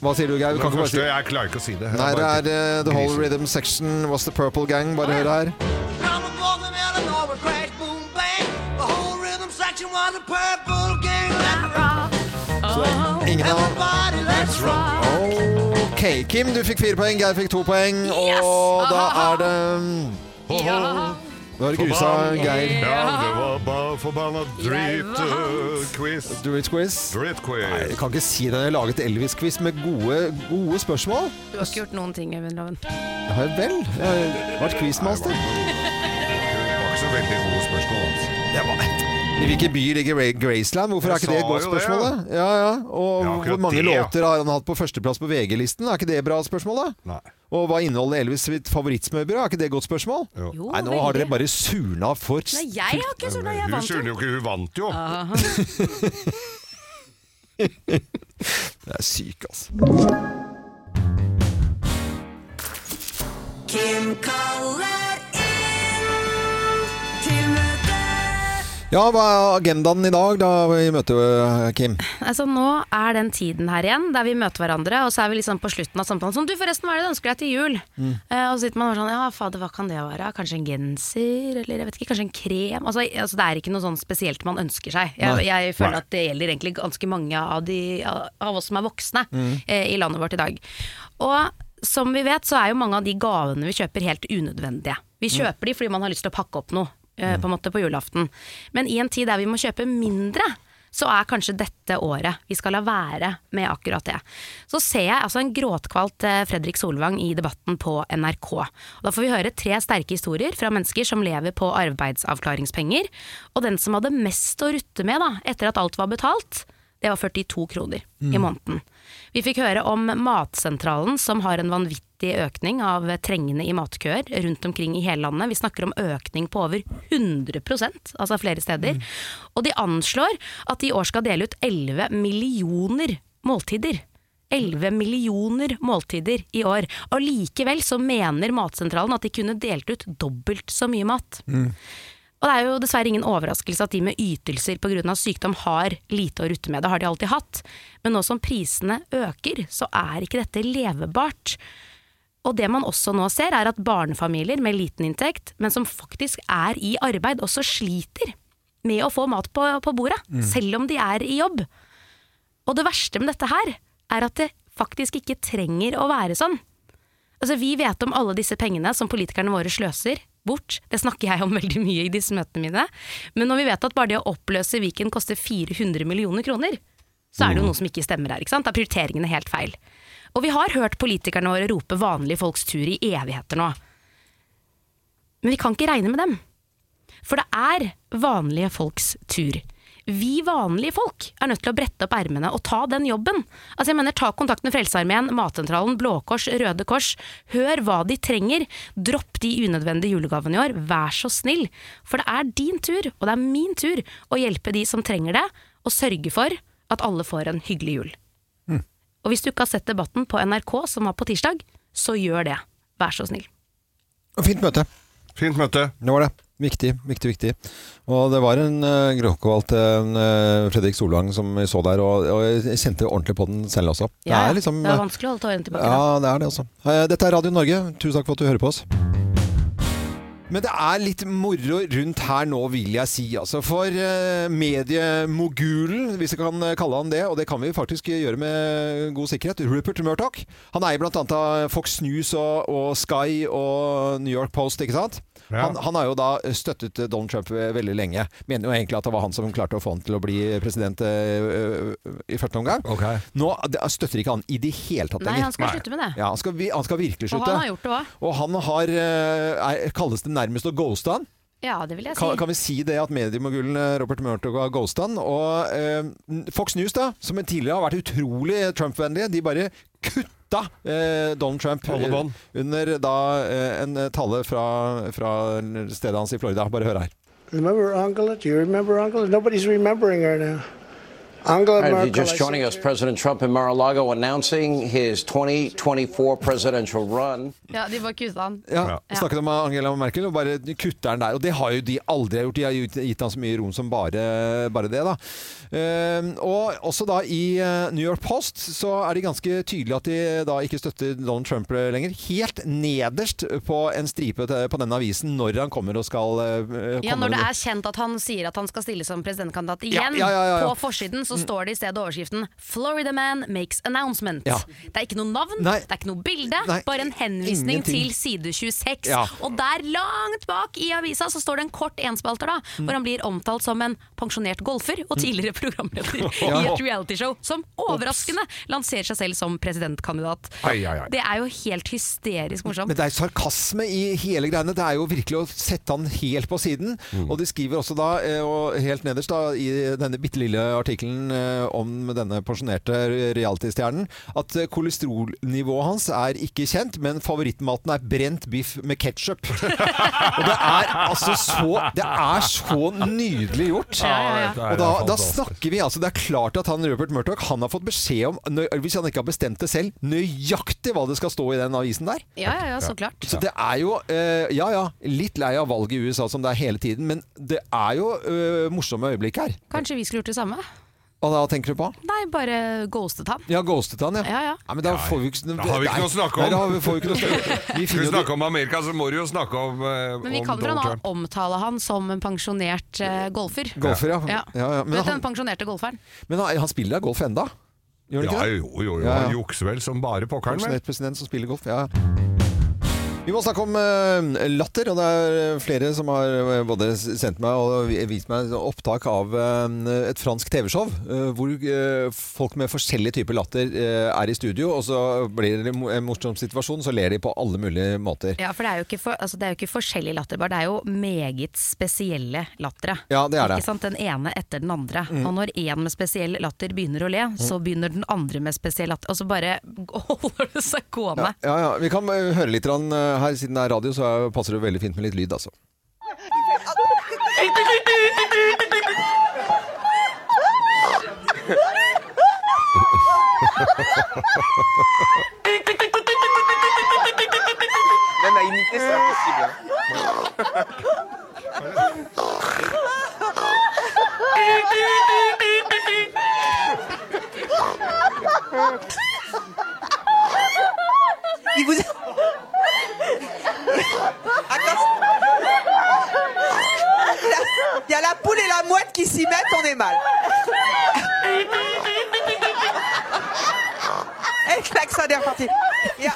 [SPEAKER 1] Hva sier du, Geir?
[SPEAKER 2] Den
[SPEAKER 1] Du kan ikke bare
[SPEAKER 2] første,
[SPEAKER 1] si
[SPEAKER 2] Jeg klarer ikke å si det.
[SPEAKER 1] Nei, det er eh, The whole
[SPEAKER 2] Grisen.
[SPEAKER 1] rhythm section was the purple gang. Bare hør her.
[SPEAKER 12] Drummer boys in Illinois would crash, boom, bang. The whole rhythm section was a purple gang. Let's rock. Oh,
[SPEAKER 1] Ingen av
[SPEAKER 12] Everybody, let's rock.
[SPEAKER 1] Ok, Kim du fikk fire poeng, Geir fikk to poeng, og da er det
[SPEAKER 2] Ja.
[SPEAKER 1] Da er det grusa
[SPEAKER 2] Forbanna-
[SPEAKER 1] Geir.
[SPEAKER 2] Ja, det var ba forbanna eh, dritt-quiz.
[SPEAKER 1] Dritt-quiz. Nei, jeg kan ikke si det. Jeg har laget Elvis-quiz med gode, gode spørsmål.
[SPEAKER 4] Du har ikke gjort noen ting, Øyvind Loven.
[SPEAKER 1] Det har jeg vel. Jeg har vært quizmaster. I hvilken by ligger Ray- Graceland? Hvorfor er
[SPEAKER 2] Jeg
[SPEAKER 1] ikke det et
[SPEAKER 2] sa
[SPEAKER 1] godt
[SPEAKER 2] jo det,
[SPEAKER 1] spørsmål, da? Ja, ja. Og
[SPEAKER 2] Ja, akkurat
[SPEAKER 1] hvor mange
[SPEAKER 2] det, ja.
[SPEAKER 1] låter har han hatt på førsteplass på VG-listen? Er ikke det et bra spørsmål, da? Og hva inneholder Elvis sitt favorittsmørbrød? Er ikke det et godt spørsmål?
[SPEAKER 4] Jo,
[SPEAKER 1] Nei, nå
[SPEAKER 4] veldig.
[SPEAKER 1] har dere bare surna for
[SPEAKER 4] Nei, jeg har ikke surna, jeg
[SPEAKER 2] Hun
[SPEAKER 4] vant jo. Ah.
[SPEAKER 2] surner jo ikke, hun vant jo.
[SPEAKER 4] Aha.
[SPEAKER 1] Jeg er syk, altså.
[SPEAKER 12] Kim kaller inn til møte.
[SPEAKER 1] Ja, hva er agendaen i dag da i møtet, Kim?
[SPEAKER 4] Altså, nå er den tiden her igjen der vi møter hverandre, og så er vi liksom på slutten av samtalen sånn Du, forresten, hva er det du ønsker deg til jul?
[SPEAKER 10] Mm.
[SPEAKER 4] Eh, og så sitter man bare sånn Ja, fader, hva kan det være? Kanskje en genser? Eller jeg vet ikke, kanskje en krem? Altså, altså det er ikke noe sånn spesielt man ønsker seg. Jeg,
[SPEAKER 10] Nei.
[SPEAKER 4] jeg
[SPEAKER 10] Nei.
[SPEAKER 4] føler at det gjelder egentlig ganske mange av, de, av oss som er voksne
[SPEAKER 10] Mm.
[SPEAKER 4] eh, i landet vårt i dag. Og som vi vet, så er jo mange av de gavene vi kjøper helt unødvendige. Vi
[SPEAKER 10] Mm.
[SPEAKER 4] kjøper de fordi man har lyst til å pakke opp noe, eh, på en måte, på julaften. Men i en tid der vi må kjøpe mindre, så er kanskje dette året vi skal la være med akkurat det. Så ser jeg altså en gråtkvalt eh, Fredrik Solvang i debatten på NRK. Og da får vi høre tre sterke historier fra mennesker som lever på arbeidsavklaringspenger. Og den som hadde mest å rutte med da, etter at alt var betalt, det var 42 kroner i
[SPEAKER 10] Mm.
[SPEAKER 4] måneden. Vi fikk høre om Matsentralen, som har en vanvittig økning av trengende i matkøer rundt omkring i hele landet. Vi snakker om økning på over 100 altså flere steder. Og de anslår at de i år skal dele ut 11 millioner måltider. 11 millioner måltider i år. Og likevel så mener Matsentralen at de kunne delt ut dobbelt så mye mat. Og det er jo dessverre ingen overraskelse at de med ytelser pga. sykdom har lite å rutte med. Det har de alltid hatt. Men nå som prisene øker, så er ikke dette levebart. Og det man også nå ser, er at barnefamilier med liten inntekt, men som faktisk er i arbeid, også sliter med å få mat på, på bordet,
[SPEAKER 10] Mm.
[SPEAKER 4] selv om de er i jobb. Og det verste med dette her, er at det faktisk ikke trenger å være sånn. Altså, vi vet om alle disse pengene som politikerne våre sløser bort. Det snakker jeg om veldig mye i disse møtene mine. Men når vi vet at bare det å oppløse Viken koster 400 millioner kroner, så er det jo noe som ikke stemmer her. ikke sant? Da er prioriteringene helt feil. Og vi har hørt politikerne våre rope vanlige folks tur i evigheter nå. Men vi kan ikke regne med dem. For det er vanlige folks tur. Vi vanlige folk er nødt til å brette opp ermene og ta den jobben. Altså jeg mener Ta kontakt med Frelsesarmeen, Matsentralen, Blå Kors, Røde Kors. Hør hva de trenger. Dropp de unødvendige julegavene i år, vær så snill. For det er din tur, og det er min tur, å hjelpe de som trenger det, og sørge for at alle får en hyggelig jul.
[SPEAKER 1] Hm.
[SPEAKER 10] Mm.
[SPEAKER 4] Og hvis du ikke har sett debatten på NRK som var på tirsdag, så gjør det. Vær så snill.
[SPEAKER 1] Fint møte.
[SPEAKER 2] Fint møte.
[SPEAKER 1] Det var det. Viktig, viktig, viktig. Og det var en uh, gråkvalt eh, Fredrik Solvang som vi så der, og, og jeg kjente ordentlig på den selv også.
[SPEAKER 4] Ja,
[SPEAKER 1] det er liksom
[SPEAKER 4] det er vanskelig å holde tårene tilbake.
[SPEAKER 1] altså. Ja,
[SPEAKER 4] da.
[SPEAKER 1] det er det også. Eh, Dette er Radio Norge. Tusen takk for at du hører på oss. Men det er litt moro rundt her nå, vil jeg si. Altså, for eh, mediemogulen, hvis jeg kan kalle han det, og det kan vi faktisk gjøre med god sikkerhet, Rupert Murdoch. Han eier bl.a. av Fox News og, og Sky og New York Post, ikke sant?
[SPEAKER 2] Ja.
[SPEAKER 1] Han, han har jo da støttet eh, Donald Trump eh, veldig lenge. Mener jo egentlig at det var han som klarte å få han til å bli president eh, ø- ø- i første omgang. Nå det- støtter ikke han i det hele tatt
[SPEAKER 4] Nei,
[SPEAKER 1] lenger.
[SPEAKER 4] han skal Nei. slutte med det.
[SPEAKER 1] Ja, han skal, vi- han skal virkelig
[SPEAKER 4] Og
[SPEAKER 1] slutte.
[SPEAKER 4] han har gjort det òg.
[SPEAKER 1] Og han har, eh, er, kalles det nærmest å ghoste han.
[SPEAKER 4] Ja, det vil jeg si.
[SPEAKER 1] Kan, kan vi si det at mediemogulen eh, Robert Murdoch har ghosta han? Og eh, Fox News, da, som tidligere har vært utrolig Trump-vennlige, de bare kutta eh, Donald Trump
[SPEAKER 2] Alle
[SPEAKER 1] eh,
[SPEAKER 2] bånd.
[SPEAKER 1] under da eh, en tale fra, fra stedet hans i Florida. Bare hør her.
[SPEAKER 13] Remember Angela? Do you remember Angela? Nobody's remembering her now. Angela
[SPEAKER 14] And if
[SPEAKER 13] Merkel.
[SPEAKER 14] you're just
[SPEAKER 13] I
[SPEAKER 14] joining us, President Trump in Mar-a-Lago announcing his 2024 presidential run.
[SPEAKER 4] Ja, de bare kusa han.
[SPEAKER 1] Ja, Snakket om Angela Merkel og bare kutter den der. Og det har jo de aldri gjort. De har jo gitt han så mye rom som bare, bare det, da. Ehm, og også da i eh, New York Post så er de ganske tydelige at de da ikke støtter Donald Trump lenger. Helt nederst på en stripe til- på den avisen når han kommer og skal eh, komme
[SPEAKER 4] Ja, Når det er kjent at han sier at han skal stille som presidentkandidat
[SPEAKER 1] Ja,
[SPEAKER 4] igjen,
[SPEAKER 1] ja, ja, ja, ja.
[SPEAKER 4] på forsiden så
[SPEAKER 1] Mm.
[SPEAKER 4] står det i stedet overskriften 'Florida man makes announcement'.
[SPEAKER 1] Ja.
[SPEAKER 4] Det er ikke noe navn, det er ikke noe bilde, bare en henvisning
[SPEAKER 1] ingenting.
[SPEAKER 4] til side 26.
[SPEAKER 1] Ja.
[SPEAKER 4] Og der langt bak i avisa så står det en kort enspalter da,
[SPEAKER 1] Mm.
[SPEAKER 4] hvor han blir omtalt som en pensjonert golfer og tidligere programleder
[SPEAKER 1] Ja.
[SPEAKER 4] i et realityshow som overraskende lanserer seg selv som presidentkandidat.
[SPEAKER 1] Ai, ai, ai.
[SPEAKER 4] Det er jo helt hysterisk morsomt.
[SPEAKER 1] Men det er sarkasme i hele greiene. Det er jo virkelig å sette han helt på siden.
[SPEAKER 2] Mm.
[SPEAKER 1] Og de skriver også da, eh, og helt nederst da, i denne bitte lille artikkelen eh, om denne pensjonerte reality-stjernen, at eh, kolesterolnivået hans er ikke kjent, men favorittmaten er brent biff med ketsjup. og det er altså så Det er så nydelig gjort.
[SPEAKER 2] Ja, ja, ja.
[SPEAKER 1] Og da, da snakker vi altså Det er klart at han Rupert Murdoch Han har fått beskjed om, nø- hvis han ikke har bestemt det selv, nøyaktig hva det skal stå i den avisen der.
[SPEAKER 4] Ja, ja, ja, så klart.
[SPEAKER 1] Så det er jo eh, Ja ja, litt lei av valget i USA som det er hele tiden, men det er jo eh, morsomme øyeblikk her.
[SPEAKER 4] Kanskje vi skulle gjort det samme?
[SPEAKER 1] Og da tenker du på?
[SPEAKER 4] Nei, bare ghostet han.
[SPEAKER 1] Ja, ghostet han, ja.
[SPEAKER 4] Ja, ja.
[SPEAKER 1] men da får vi ikke
[SPEAKER 2] Da har vi ikke noe å snakke om.
[SPEAKER 1] Nei, da har vi- får vi ikke noe å snakke om. Vi
[SPEAKER 2] Skal vi
[SPEAKER 1] finner jo
[SPEAKER 2] snakke om Amerika, så må du jo snakke om, eh,
[SPEAKER 4] Men vi
[SPEAKER 2] om
[SPEAKER 4] kan vel
[SPEAKER 2] Donald
[SPEAKER 4] nå
[SPEAKER 2] Trump.
[SPEAKER 4] omtale han som en pensjonert eh, golfer.
[SPEAKER 1] Golfer, ja.
[SPEAKER 4] ja.
[SPEAKER 1] Ja, ja, men
[SPEAKER 4] Du vet
[SPEAKER 1] han-
[SPEAKER 4] den pensjonerte golferen?
[SPEAKER 1] Men han, han spiller da golf enda? Gjør han
[SPEAKER 2] Ja,
[SPEAKER 1] ikke det?
[SPEAKER 2] jo, jo, jo.
[SPEAKER 1] Ja, ja.
[SPEAKER 2] Han jukser vel som bare pokkeren. vel?
[SPEAKER 1] Pensjonert president som spiller golf, ja. Vi må snakke om eh, latter, og det er flere som har eh, både sendt meg og vi- vist meg opptak av eh, et fransk TV-show, eh, hvor eh, folk med forskjellige typer latter eh, er i studio, og så blir det mo- en morsom situasjon, så ler de på alle mulige måter.
[SPEAKER 4] Ja, for det er jo ikke, for, altså, det er jo ikke forskjellig latter, bare det er jo meget spesielle lattere.
[SPEAKER 1] Ja, det er det.
[SPEAKER 4] Ikke sant? Den ene etter den andre.
[SPEAKER 1] Mm.
[SPEAKER 4] Og når én med spesiell latter begynner å le, så begynner den andre med spesiell latter, og så bare holder det seg gående.
[SPEAKER 1] Ja, ja, ja. Vi kan eh, høre litt grann, eh, her, siden det er radio, så eh, passer det veldig fint med litt lyd, altså.
[SPEAKER 12] Même à imiter, c'est impossible. Il vous... Attends. Il y a la poule et la mouette qui s'y mettent, on est mal. Et clac, ça, c'est reparti. Il y a-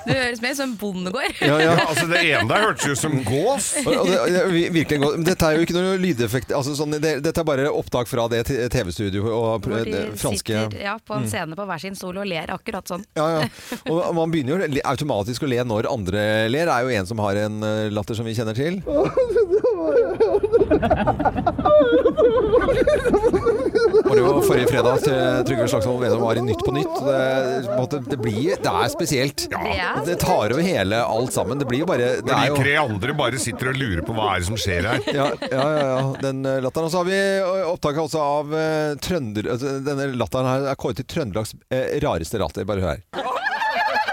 [SPEAKER 4] Du høres mer ut som en bondegård.
[SPEAKER 1] Ja, ja.
[SPEAKER 2] Altså, det ene der hørtes jo ut som gås.
[SPEAKER 1] Og- og det, og det, vi- virkelig godt. Men dette er jo ikke noe lydeffekt. Altså, sånn, det, dette er bare opptak fra det t- TV-studioet og
[SPEAKER 4] Hvor
[SPEAKER 1] eh,
[SPEAKER 4] de
[SPEAKER 1] det franske
[SPEAKER 4] sitter ja, på en
[SPEAKER 1] Mm.
[SPEAKER 4] scene på hver sin stol og ler akkurat sånn.
[SPEAKER 1] Ja, ja. Og man begynner jo li- automatisk å le når andre ler. Det er jo en som har en eh, latter som vi kjenner til. Og det var forrige fredag til Trygve Slagsvold Vedum var i Nytt på Nytt. Det, på en måte, det, blir, det er spesielt.
[SPEAKER 4] Ja.
[SPEAKER 1] Det tar over hele alt sammen. Det blir jo bare det er
[SPEAKER 2] Når
[SPEAKER 1] jo,
[SPEAKER 2] de tre andre bare sitter og lurer på hva er det som skjer her.
[SPEAKER 1] ja, ja, ja, ja. Den eh, latteren. Og så har vi eh, opptaket også av eh, trønder... Altså, denne latteren her er kåret til Trøndelags eh, rareste latter. Bare hør her.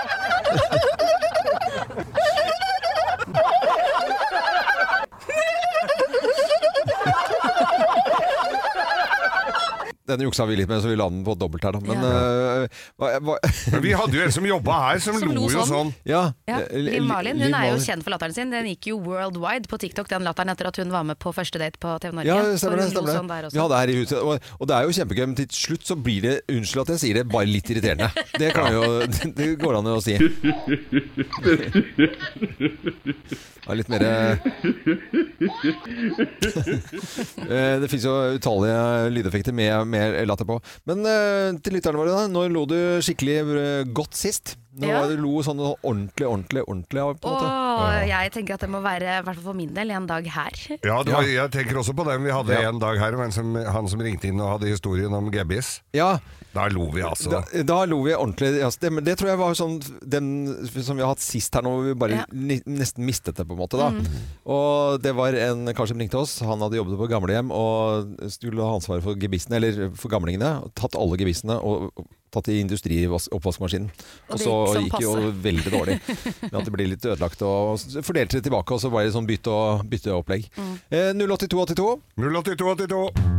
[SPEAKER 1] Den juksa vi litt med, så vi la den på dobbelt her, da. Men øh, hva- hva-
[SPEAKER 2] Vi hadde jo en som jobba her, som Som lo lo jo sånn. sånn.
[SPEAKER 1] Ja.
[SPEAKER 4] Ja.
[SPEAKER 1] Eh,
[SPEAKER 4] Liv Marlin hun
[SPEAKER 1] Liv
[SPEAKER 4] er jo
[SPEAKER 1] Marlin.
[SPEAKER 4] kjent for latteren sin. Den gikk jo worldwide på TikTok, den latteren etter at hun var med på første date på TV Norge.
[SPEAKER 1] Ja, det stemmer
[SPEAKER 4] For
[SPEAKER 1] det.
[SPEAKER 4] hun lo
[SPEAKER 1] Stemmer
[SPEAKER 4] sånn der
[SPEAKER 1] det.
[SPEAKER 4] også.
[SPEAKER 1] Vi hadde her i huset, og, og det er jo kjempegøy, men til slutt så blir det, unnskyld at jeg sier det, bare litt irriterende. Det, kan jo, det går an å si. Det er litt mer Eh, Det fins jo utallige lydeffekter med, med latter på. Men eh, til lytterne våre, da. Når lo du skikkelig eh, godt sist? Nå
[SPEAKER 4] Ja.
[SPEAKER 1] var det lo sånn ordentlig, ordentlig, ordentlig av, på en måte.
[SPEAKER 4] Og jeg tenker at det må være, i hvert fall for min del, en dag her.
[SPEAKER 2] Ja, det var, jeg tenker også på den vi hadde
[SPEAKER 1] Ja.
[SPEAKER 2] en dag her, men som, han som ringte inn og hadde historien om gebbis.
[SPEAKER 1] Ja.
[SPEAKER 2] Da lo vi altså.
[SPEAKER 1] Da, da lo vi ordentlig. Ja, det, men det tror jeg var sånn den som vi har hatt sist her nå, hvor vi bare
[SPEAKER 2] Ja.
[SPEAKER 1] ni, nesten mistet det, på en måte. da.
[SPEAKER 2] Mm.
[SPEAKER 1] Og det var en kar som ringte oss. Han hadde jobbet på gamlehjem og skulle ha ansvaret for gebissene, eller for gamlingene. og Tatt alle gebissene og og tatt i industrioppvaskmaskinen. Og
[SPEAKER 4] Og det
[SPEAKER 1] så
[SPEAKER 4] gikk som
[SPEAKER 1] gikk jo
[SPEAKER 4] passe.
[SPEAKER 1] veldig dårlig. Med at det ble litt ødelagt. Og så fordelte det tilbake, og så var det sånn bytte og bytteopplegg.
[SPEAKER 2] Mm.
[SPEAKER 1] Eh, 08282.
[SPEAKER 2] 08282.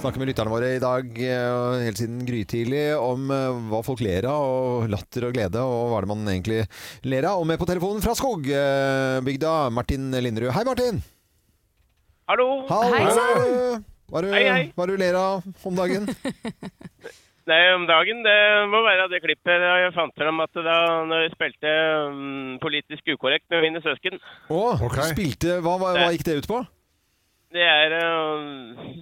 [SPEAKER 1] Snakker med lytterne våre i dag eh, helt siden grytidlig om eh, hva folk ler av, og latter og glede, og hva er det man egentlig ler av. Og med på telefonen fra Skogbygda, Martin Linderud. Hei, Martin!
[SPEAKER 15] Hallo!
[SPEAKER 1] Hallo.
[SPEAKER 15] Hei,
[SPEAKER 1] Hva er det-
[SPEAKER 15] Hei, hei.
[SPEAKER 1] hva er det du ler av om dagen?
[SPEAKER 15] Nei, om dagen, det må være det klippet da jeg fant frem at da når jeg spilte mm, politisk ukorrekt med mine søsken.
[SPEAKER 1] Å, du spilte hva, hva, hva gikk det ut på?
[SPEAKER 15] Det er å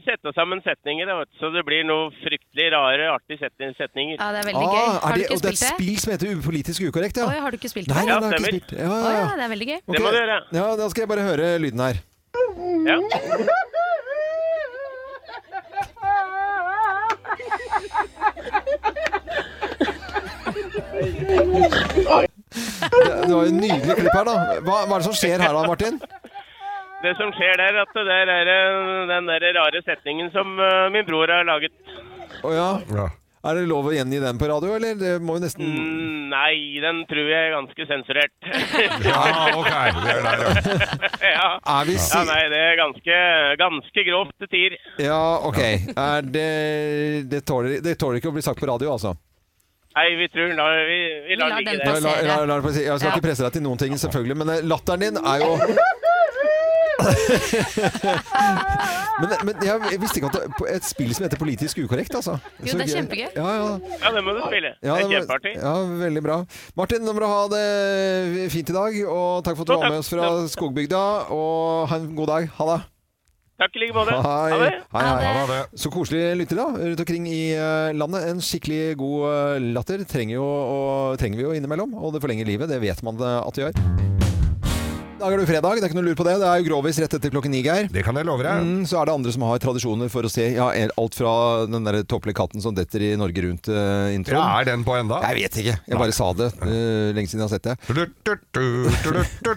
[SPEAKER 15] sette sammen setninger, da, vet du, så det blir noe fryktelig rare, artige setning- setninger.
[SPEAKER 4] Ja, det er veldig
[SPEAKER 1] Ah,
[SPEAKER 4] gøy.
[SPEAKER 1] er
[SPEAKER 4] Har du
[SPEAKER 1] det,
[SPEAKER 4] ikke
[SPEAKER 1] og det er et
[SPEAKER 4] spilt det?
[SPEAKER 1] spill som heter Politisk ukorrekt, ja?
[SPEAKER 4] Oi, har du ikke
[SPEAKER 1] Nei,
[SPEAKER 4] spilt det?
[SPEAKER 1] nei, det har jeg ikke spilt. Ja,
[SPEAKER 4] Å
[SPEAKER 1] ja,
[SPEAKER 4] ja,
[SPEAKER 1] ja.
[SPEAKER 4] det er veldig gøy.
[SPEAKER 1] Ok. Ja, da skal jeg bare høre lyden her.
[SPEAKER 15] Ja.
[SPEAKER 1] Det, det var jo en nydelig klipp her, da. Hva, hva er det som skjer her da, Martin?
[SPEAKER 15] Det som skjer der, at det der er eh, den der rare setningen som eh, min bror har laget.
[SPEAKER 1] Å ja. Er det lov å gjengi den på radio, eller? Det må jo nesten
[SPEAKER 15] Mm, Nei, den tror jeg er ganske sensurert.
[SPEAKER 1] Ja,
[SPEAKER 2] Ah, ok. Det er der,
[SPEAKER 15] ja.
[SPEAKER 1] Er vi si-
[SPEAKER 15] ja, nei, det er ganske, ganske grovt til tider.
[SPEAKER 1] Ja, ok. Er det, det, tåler, det tåler ikke å bli sagt på radio, altså?
[SPEAKER 15] Nei, vi tror la, vi, vi lar ligge
[SPEAKER 1] La, la, la, la, det få si- jeg skal
[SPEAKER 15] Ja.
[SPEAKER 1] ikke presse deg til noen ting, selvfølgelig, men eh, latteren din er jo men, men jeg, jeg visste ikke at det på et spill som heter Politisk ukorrekt, altså.
[SPEAKER 15] Jo, det er kjempegøy.
[SPEAKER 1] Ja, ja.
[SPEAKER 15] Ja, det må du spille.
[SPEAKER 1] Ja,
[SPEAKER 15] det er
[SPEAKER 1] var-
[SPEAKER 15] kjempeartig.
[SPEAKER 1] Ja, veldig bra. Martin, nå må du ha det fint i dag, og takk for at du
[SPEAKER 15] Jo,
[SPEAKER 1] var
[SPEAKER 15] takk.
[SPEAKER 1] med oss fra Skogbygda. Og ha en god dag. Ha det.
[SPEAKER 15] Takk i like måte.
[SPEAKER 1] Hei.
[SPEAKER 15] Ha det.
[SPEAKER 1] Hei, hei. Så koselige lyttere da, rundt omkring i eh, landet. En skikkelig god eh, latter trenger, jo, og, trenger vi jo innimellom, og det forlenger livet. Det vet man eh, at det gjør. I dag er det jo fredag, det er ikke noe lur på det. Det er jo grovis rett etter klokken ni, Geir.
[SPEAKER 2] Det kan jeg love deg.
[SPEAKER 1] Mm, så er det andre som har tradisjoner for å se ja, alt fra den der tåpelige katten som detter i Norge Rundt-introen.
[SPEAKER 2] Ja, er den på enda?
[SPEAKER 1] Jeg vet ikke. Jeg bare sa det. eh, lenge siden jeg har sett det.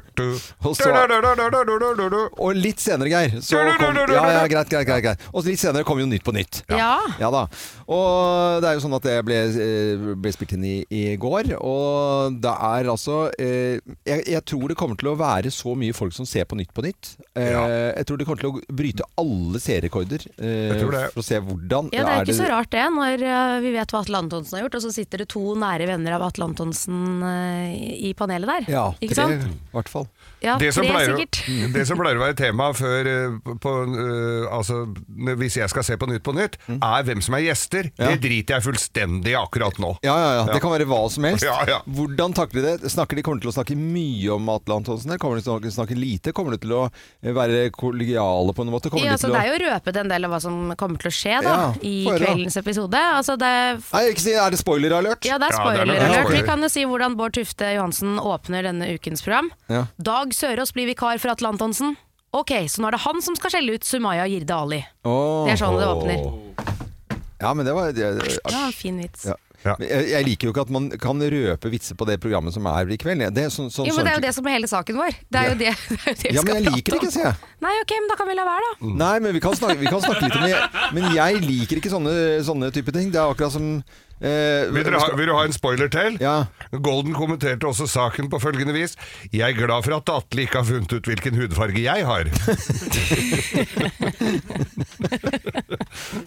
[SPEAKER 1] Og så og litt senere, Geir så kom, ja, ja, greit, greit, greit, greit. Og litt senere kom jo Nytt på nytt.
[SPEAKER 4] Ja.
[SPEAKER 1] da. Og det er jo sånn at det ble, eh, ble spilt inn i, i går, og det er altså eh, jeg, jeg tror det kommer til å være så mye folk som ser på Nytt på nytt. Eh, Jeg tror det kommer til å bryte alle seerrekorder eh,
[SPEAKER 2] Jeg tror det.
[SPEAKER 1] for å se hvordan
[SPEAKER 4] Ja, Det er jo ikke så rart det, når eh, vi vet hva Atle Antonsen har gjort, og så sitter det to nære venner av Atle Antonsen eh, i panelet der.
[SPEAKER 1] Ja,
[SPEAKER 4] ikke
[SPEAKER 1] tre,
[SPEAKER 4] sant?
[SPEAKER 1] i hvert fall.
[SPEAKER 4] Ja,
[SPEAKER 2] det, som
[SPEAKER 4] tre
[SPEAKER 2] pleier, å-
[SPEAKER 4] sikkert.
[SPEAKER 2] det som pleier å være tema før eh, på, eh, altså, n- Hvis jeg skal se på Nytt på Nytt, er hvem som er gjester. Det driter jeg fullstendig i akkurat nå.
[SPEAKER 1] Ja, ja, ja. Det kan være hva som helst.
[SPEAKER 2] Ja, ja.
[SPEAKER 1] Hvordan takler de det? Snakker de kommer til å snakke mye om Atle Antonsen? her? Kommer de til å snakke- snakke lite? Kommer de til å eh, være kollegiale på en måte? Kommer
[SPEAKER 4] Ja,
[SPEAKER 1] de
[SPEAKER 4] altså,
[SPEAKER 1] til
[SPEAKER 4] det
[SPEAKER 1] å...
[SPEAKER 4] er jo røpet en del av hva som kommer til å skje da,
[SPEAKER 1] Ja,
[SPEAKER 4] i
[SPEAKER 1] få høre, da.
[SPEAKER 4] kveldens episode. Altså, det,
[SPEAKER 1] Nei, ikke si Er det spoiler-alert?
[SPEAKER 4] ja, det er spoiler
[SPEAKER 1] nok
[SPEAKER 4] alert. Vi
[SPEAKER 1] spoiler.
[SPEAKER 4] kan jo si hvordan Bård Tufte Johansen åpner denne ukens program.
[SPEAKER 1] Ja.
[SPEAKER 4] Dag Sørås blir vikar for Atle Antonsen. Ok, så nå er det han som skal skjelle ut Sumaya Jirde Ali.
[SPEAKER 1] Åh.
[SPEAKER 4] Det er sånn det åpner.
[SPEAKER 1] Ja, men det var det,
[SPEAKER 4] Det var en fin vits.
[SPEAKER 1] Ja. Jeg, jeg liker jo ikke at man kan røpe vitser på det programmet som er i kveld. Det er sånn, sånn,
[SPEAKER 4] Jo, men det er
[SPEAKER 1] sånn-
[SPEAKER 4] jo det som er hele saken vår. Det er jo det, det, er jo det vi
[SPEAKER 1] Ja,
[SPEAKER 4] skal
[SPEAKER 1] men jeg liker det
[SPEAKER 4] prate
[SPEAKER 1] ikke, sier jeg.
[SPEAKER 4] om. Nei, ok, men da kan vi la være, da.
[SPEAKER 1] Nei, men vi kan snakke, vi kan snakke litt om det. Men jeg liker ikke sånne, sånne type ting. Det er akkurat som eh,
[SPEAKER 2] Vil dere ha, vil du ha en spoiler til? Golden kommenterte også saken på følgende vis. Jeg er glad for at Atle ikke har funnet ut hvilken hudfarge jeg har.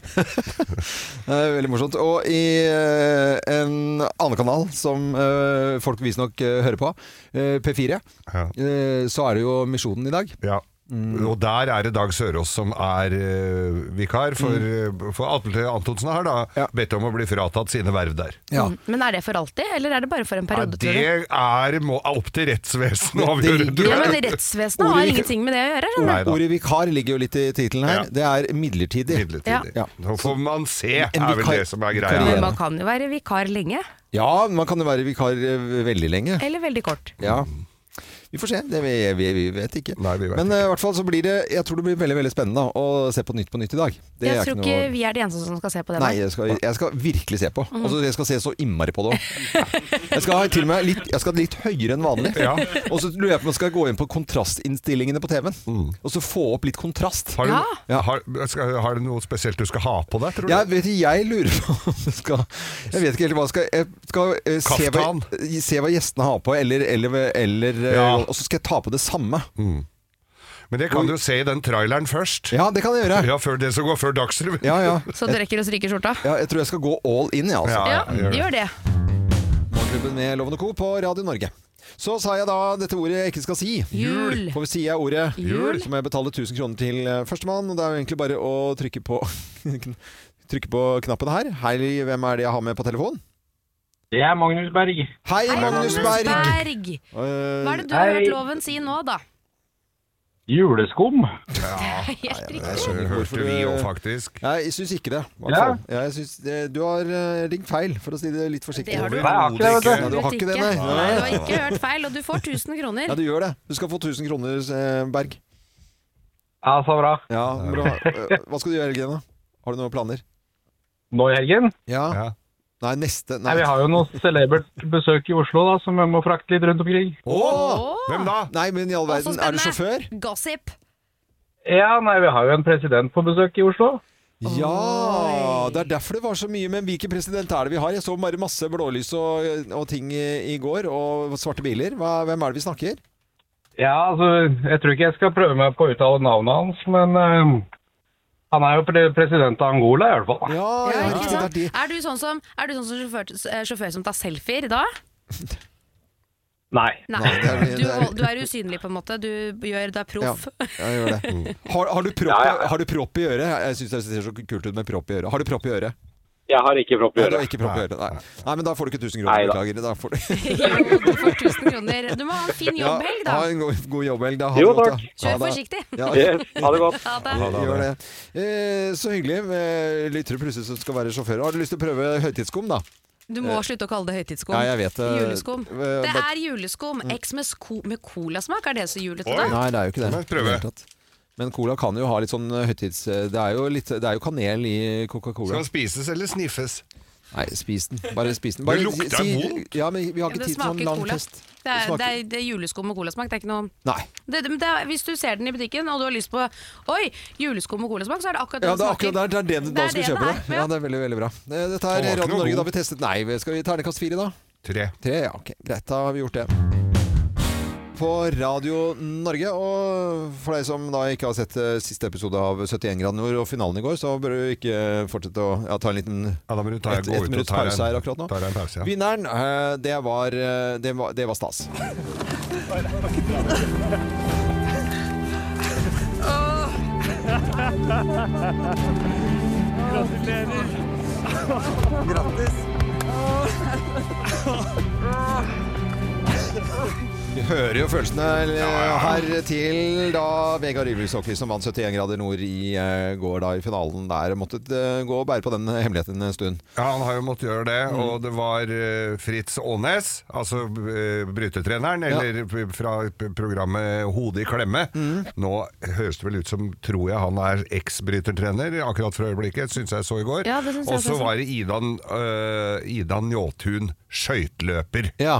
[SPEAKER 1] Det er veldig morsomt. Og i eh, en annen kanal som eh, folk visstnok eh, hører på, eh, P4, eh, så er det jo Misjonen i dag.
[SPEAKER 2] Ja. Og der er det Dag Sørås som er eh, vikar, for, eh, for Atle Antonsen har da bedt om å bli fratatt sine verv der.
[SPEAKER 4] Mm. Men er det for alltid, eller er det bare for en
[SPEAKER 2] Ja,
[SPEAKER 4] periode? tror du?
[SPEAKER 2] det er må, opp til rettsvesenet å avgjøre. tror
[SPEAKER 4] Ja,
[SPEAKER 2] jeg.
[SPEAKER 4] men rettsvesenet har
[SPEAKER 2] Ordet-
[SPEAKER 4] ingenting med det å gjøre. skjønner du?
[SPEAKER 1] Ordet vikar ligger jo litt i tittelen her. Det er midlertidig.
[SPEAKER 4] Ja.
[SPEAKER 1] Ja.
[SPEAKER 2] Nå får man se,
[SPEAKER 1] En
[SPEAKER 2] er vel
[SPEAKER 1] vikar-
[SPEAKER 2] det som er
[SPEAKER 4] Men
[SPEAKER 2] greia.
[SPEAKER 4] man kan jo være vikar lenge,
[SPEAKER 1] Ja, man kan jo være vikar eh, veldig lenge.
[SPEAKER 4] eller veldig kort.
[SPEAKER 1] Ja. Vi får se. Det, vi, vi, vi vet ikke.
[SPEAKER 2] vet
[SPEAKER 1] Men eh, i hvert fall så blir det Jeg tror det blir veldig veldig spennende da, å se på Nytt på Nytt i dag. Det
[SPEAKER 4] jeg
[SPEAKER 1] er
[SPEAKER 4] tror
[SPEAKER 1] noe-
[SPEAKER 4] ikke vi er de eneste som skal se på det.
[SPEAKER 1] Nei, jeg skal, jeg skal virkelig se på.
[SPEAKER 4] Mhm.
[SPEAKER 1] Altså, jeg skal se så innmari på det òg. Jeg skal ha til og med litt, jeg skal litt høyere enn vanlig.
[SPEAKER 2] Ja.
[SPEAKER 1] Og så lurer jeg på om jeg skal gå inn på kontrastinnstillingene på TV-en. Og så få opp litt kontrast.
[SPEAKER 2] Mm. Har du, har, skal, har du noe spesielt du skal ha på deg, tror du?
[SPEAKER 1] Jeg, vet, ikke, jeg lurer på om jeg skal Jeg vet ikke helt hva jeg skal Jeg skal eh, se, hva, se hva gjestene har på, eller, eller, eller eh,
[SPEAKER 2] Ja. Mm.
[SPEAKER 1] Og så skal jeg ta på det samme.
[SPEAKER 2] Men det kan du jo se i den traileren først.
[SPEAKER 1] Ja, det kan jeg gjøre.
[SPEAKER 2] Ja, før det som går før Dagsrevyen.
[SPEAKER 1] Ja, ja.
[SPEAKER 4] Så du rekker å stryke skjorta?
[SPEAKER 1] Ja, jeg tror jeg skal gå all in, jeg, altså.
[SPEAKER 4] Ja, gjør det.
[SPEAKER 1] Morgenklubben med Lovende Co. på Radio Norge. Så sa jeg da dette ordet jeg ikke skal si.
[SPEAKER 4] Jul.
[SPEAKER 1] For sier jeg ordet
[SPEAKER 4] Jul.
[SPEAKER 1] så må jeg betale 1000 kroner til eh, førstemann. Og det er jo egentlig bare å trykke på Trykke på knappen her. Hei, hvem er det jeg har med på telefon?
[SPEAKER 16] Det er Magnus Berg.
[SPEAKER 1] Hei, Magnus Berg!
[SPEAKER 4] Berg.
[SPEAKER 1] Eh,
[SPEAKER 4] Hva er det du har hørt loven si nå, da?
[SPEAKER 16] Juleskum.
[SPEAKER 4] Helt riktig.
[SPEAKER 2] Det hørte vi jo faktisk.
[SPEAKER 1] Nei, jeg syns ikke det. i hvert
[SPEAKER 2] Ja.
[SPEAKER 1] fall. Ja, jeg synes, eh, du har eh, ringt feil, for å si det litt forsiktig.
[SPEAKER 4] Det har du.
[SPEAKER 16] Nei, jeg har ikke det, vet du.
[SPEAKER 1] Nei, du har ikke det, nei.
[SPEAKER 4] Nei, du har ikke hørt feil, og du får 1000
[SPEAKER 1] Ja,
[SPEAKER 4] kroner.
[SPEAKER 1] du gjør det. Du skal få 1000 kroner, eh, Berg.
[SPEAKER 16] Ja, så bra.
[SPEAKER 1] Ja, bra. Eh, Hva skal du gjøre i helgen, da? Har du noen planer?
[SPEAKER 16] Nå i helgen?
[SPEAKER 1] Ja. Nei, neste
[SPEAKER 16] Nei, vi har jo noe celebert besøk i Oslo da, som jeg må frakte litt rundt omkring.
[SPEAKER 1] Åh!
[SPEAKER 2] Hvem da?
[SPEAKER 1] Nei, men i all
[SPEAKER 4] Å, så
[SPEAKER 1] verden, er du
[SPEAKER 4] spennende.
[SPEAKER 1] sjåfør?
[SPEAKER 4] Gossip.
[SPEAKER 16] Ja, nei, vi har jo en president på besøk i Oslo.
[SPEAKER 1] Ja! Det er derfor det var så mye. Men hvilken president er det vi har? Jeg så bare masse blålys og, og ting i, i går, og svarte biler. Hva, hvem er det vi snakker?
[SPEAKER 16] Ja, altså, jeg tror ikke jeg skal prøve meg på å uttale navnet hans, men eh, han er jo pre president av Angola i hvert fall.
[SPEAKER 1] Ja,
[SPEAKER 4] Ikke sant? Er du sånn som, er du sånn som sjåfør, eh, sjåfør som tar selfier da?
[SPEAKER 16] Nei.
[SPEAKER 4] Nei. Du, du er usynlig, på en måte. Du, gjør, du er proff.
[SPEAKER 1] Ja, jeg gjør det.
[SPEAKER 16] Mm.
[SPEAKER 1] Har, har, du propp, har du propp i øret? Jeg syns det ser så kult ut med propp i øret. Har du propp i øret?
[SPEAKER 16] Jeg har ikke propp i
[SPEAKER 1] Nei, du
[SPEAKER 16] øret.
[SPEAKER 1] har ikke propp i øret. Nei. Nei, men da får du ikke 1000
[SPEAKER 16] Nei
[SPEAKER 1] kroner.
[SPEAKER 16] da.
[SPEAKER 1] Beklager. Da får du
[SPEAKER 4] Du får 1000 kroner. Du må ha en fin jobbhelg, da.
[SPEAKER 1] Ja, ha en god, god jobbhelg. Da. Ha
[SPEAKER 16] Jo,
[SPEAKER 1] det godt,
[SPEAKER 16] takk.
[SPEAKER 1] da.
[SPEAKER 4] Kjør
[SPEAKER 1] Ha det.
[SPEAKER 4] forsiktig.
[SPEAKER 16] Yes, ha det godt.
[SPEAKER 4] Ha det.
[SPEAKER 1] Gjør det. Eh, så hyggelig med lyttere plutselig som skal være sjåfører. Har du lyst til å prøve høytidsskum, da?
[SPEAKER 4] Du må slutte å kalle det høytidsskum.
[SPEAKER 1] Ja, jeg vet det.
[SPEAKER 4] Juleskum.
[SPEAKER 1] Eh, Mm.
[SPEAKER 4] Det
[SPEAKER 1] bare-
[SPEAKER 4] er juleskum. X med, sko med colasmak, er det så julete, da?
[SPEAKER 1] Nei, det er jo ikke det.
[SPEAKER 2] Men prøve.
[SPEAKER 1] I det hele tatt. Men cola kan jo ha litt sånn høytids... Det er jo, litt, det er jo kanel i Coca-Cola.
[SPEAKER 2] Skal den spises eller sniffes?
[SPEAKER 1] Nei, spis den. Bare spis den.
[SPEAKER 2] Det
[SPEAKER 1] Bare
[SPEAKER 2] lukter vondt.
[SPEAKER 1] Ja, men vi har
[SPEAKER 4] Ja, men
[SPEAKER 1] ikke
[SPEAKER 4] det
[SPEAKER 1] tid til sånn
[SPEAKER 4] smaker
[SPEAKER 1] lang
[SPEAKER 4] cola.
[SPEAKER 1] test.
[SPEAKER 4] Det er,
[SPEAKER 1] smaker-
[SPEAKER 4] det er, det er juleskum og colasmak. Det er ikke noe
[SPEAKER 1] Nei.
[SPEAKER 4] det, det, men det er, Hvis du ser den i butikken og du har lyst på Oi, juleskum og colasmak, så er det akkurat det
[SPEAKER 1] Ja, det er
[SPEAKER 4] smaker.
[SPEAKER 1] akkurat der. Det er det du
[SPEAKER 4] Det
[SPEAKER 1] da
[SPEAKER 4] er
[SPEAKER 1] skulle
[SPEAKER 4] det
[SPEAKER 1] kjøpe
[SPEAKER 4] det
[SPEAKER 1] det. Ja, det er veldig, veldig bra. Eh, Dette
[SPEAKER 2] Det var
[SPEAKER 1] er Radio
[SPEAKER 2] ikke noe
[SPEAKER 1] Norge. Da
[SPEAKER 2] god.
[SPEAKER 1] har vi testet Nei, skal vi ternekast fire, da?
[SPEAKER 2] Tre.
[SPEAKER 1] Tre, ja, ok. Greit, da har vi gjort det. På Radio Norge, og for deg som da ikke har sett eh, siste episode av 71 grader nord og finalen i går, så bør du ikke fortsette å ja, ta en liten
[SPEAKER 2] Ja, da må du ta,
[SPEAKER 1] et,
[SPEAKER 2] gå
[SPEAKER 1] et
[SPEAKER 2] ut og
[SPEAKER 1] minutts
[SPEAKER 2] ta
[SPEAKER 1] pause
[SPEAKER 2] en-
[SPEAKER 1] her akkurat nå.
[SPEAKER 2] ta deg en pause, ja.
[SPEAKER 1] Vinneren, eh, det var, eh, det var, det var stas.
[SPEAKER 12] Gratulerer. Grattis.
[SPEAKER 1] Du hører jo følelsene eh, her til da Vegard Ylvisåker, som vant 71 grader nord i eh, går da i finalen der, måtte eh, gå og bære på den hemmeligheten en stund.
[SPEAKER 2] Ja, han har jo måttet gjøre det,
[SPEAKER 1] Mm.
[SPEAKER 2] og det var eh, Fritz Aanes, altså eh, brytetreneren, eller p- fra p- programmet Hodet i klemme.
[SPEAKER 1] Mm.
[SPEAKER 2] Nå høres det vel ut som, tror jeg han er eks-brytertrener, akkurat for øyeblikket, syns jeg så i går.
[SPEAKER 4] Ja, det synes jeg
[SPEAKER 2] og så
[SPEAKER 4] også.
[SPEAKER 2] var det Idan, uh, Idan Njåtun, skøyteløper.
[SPEAKER 1] Ja,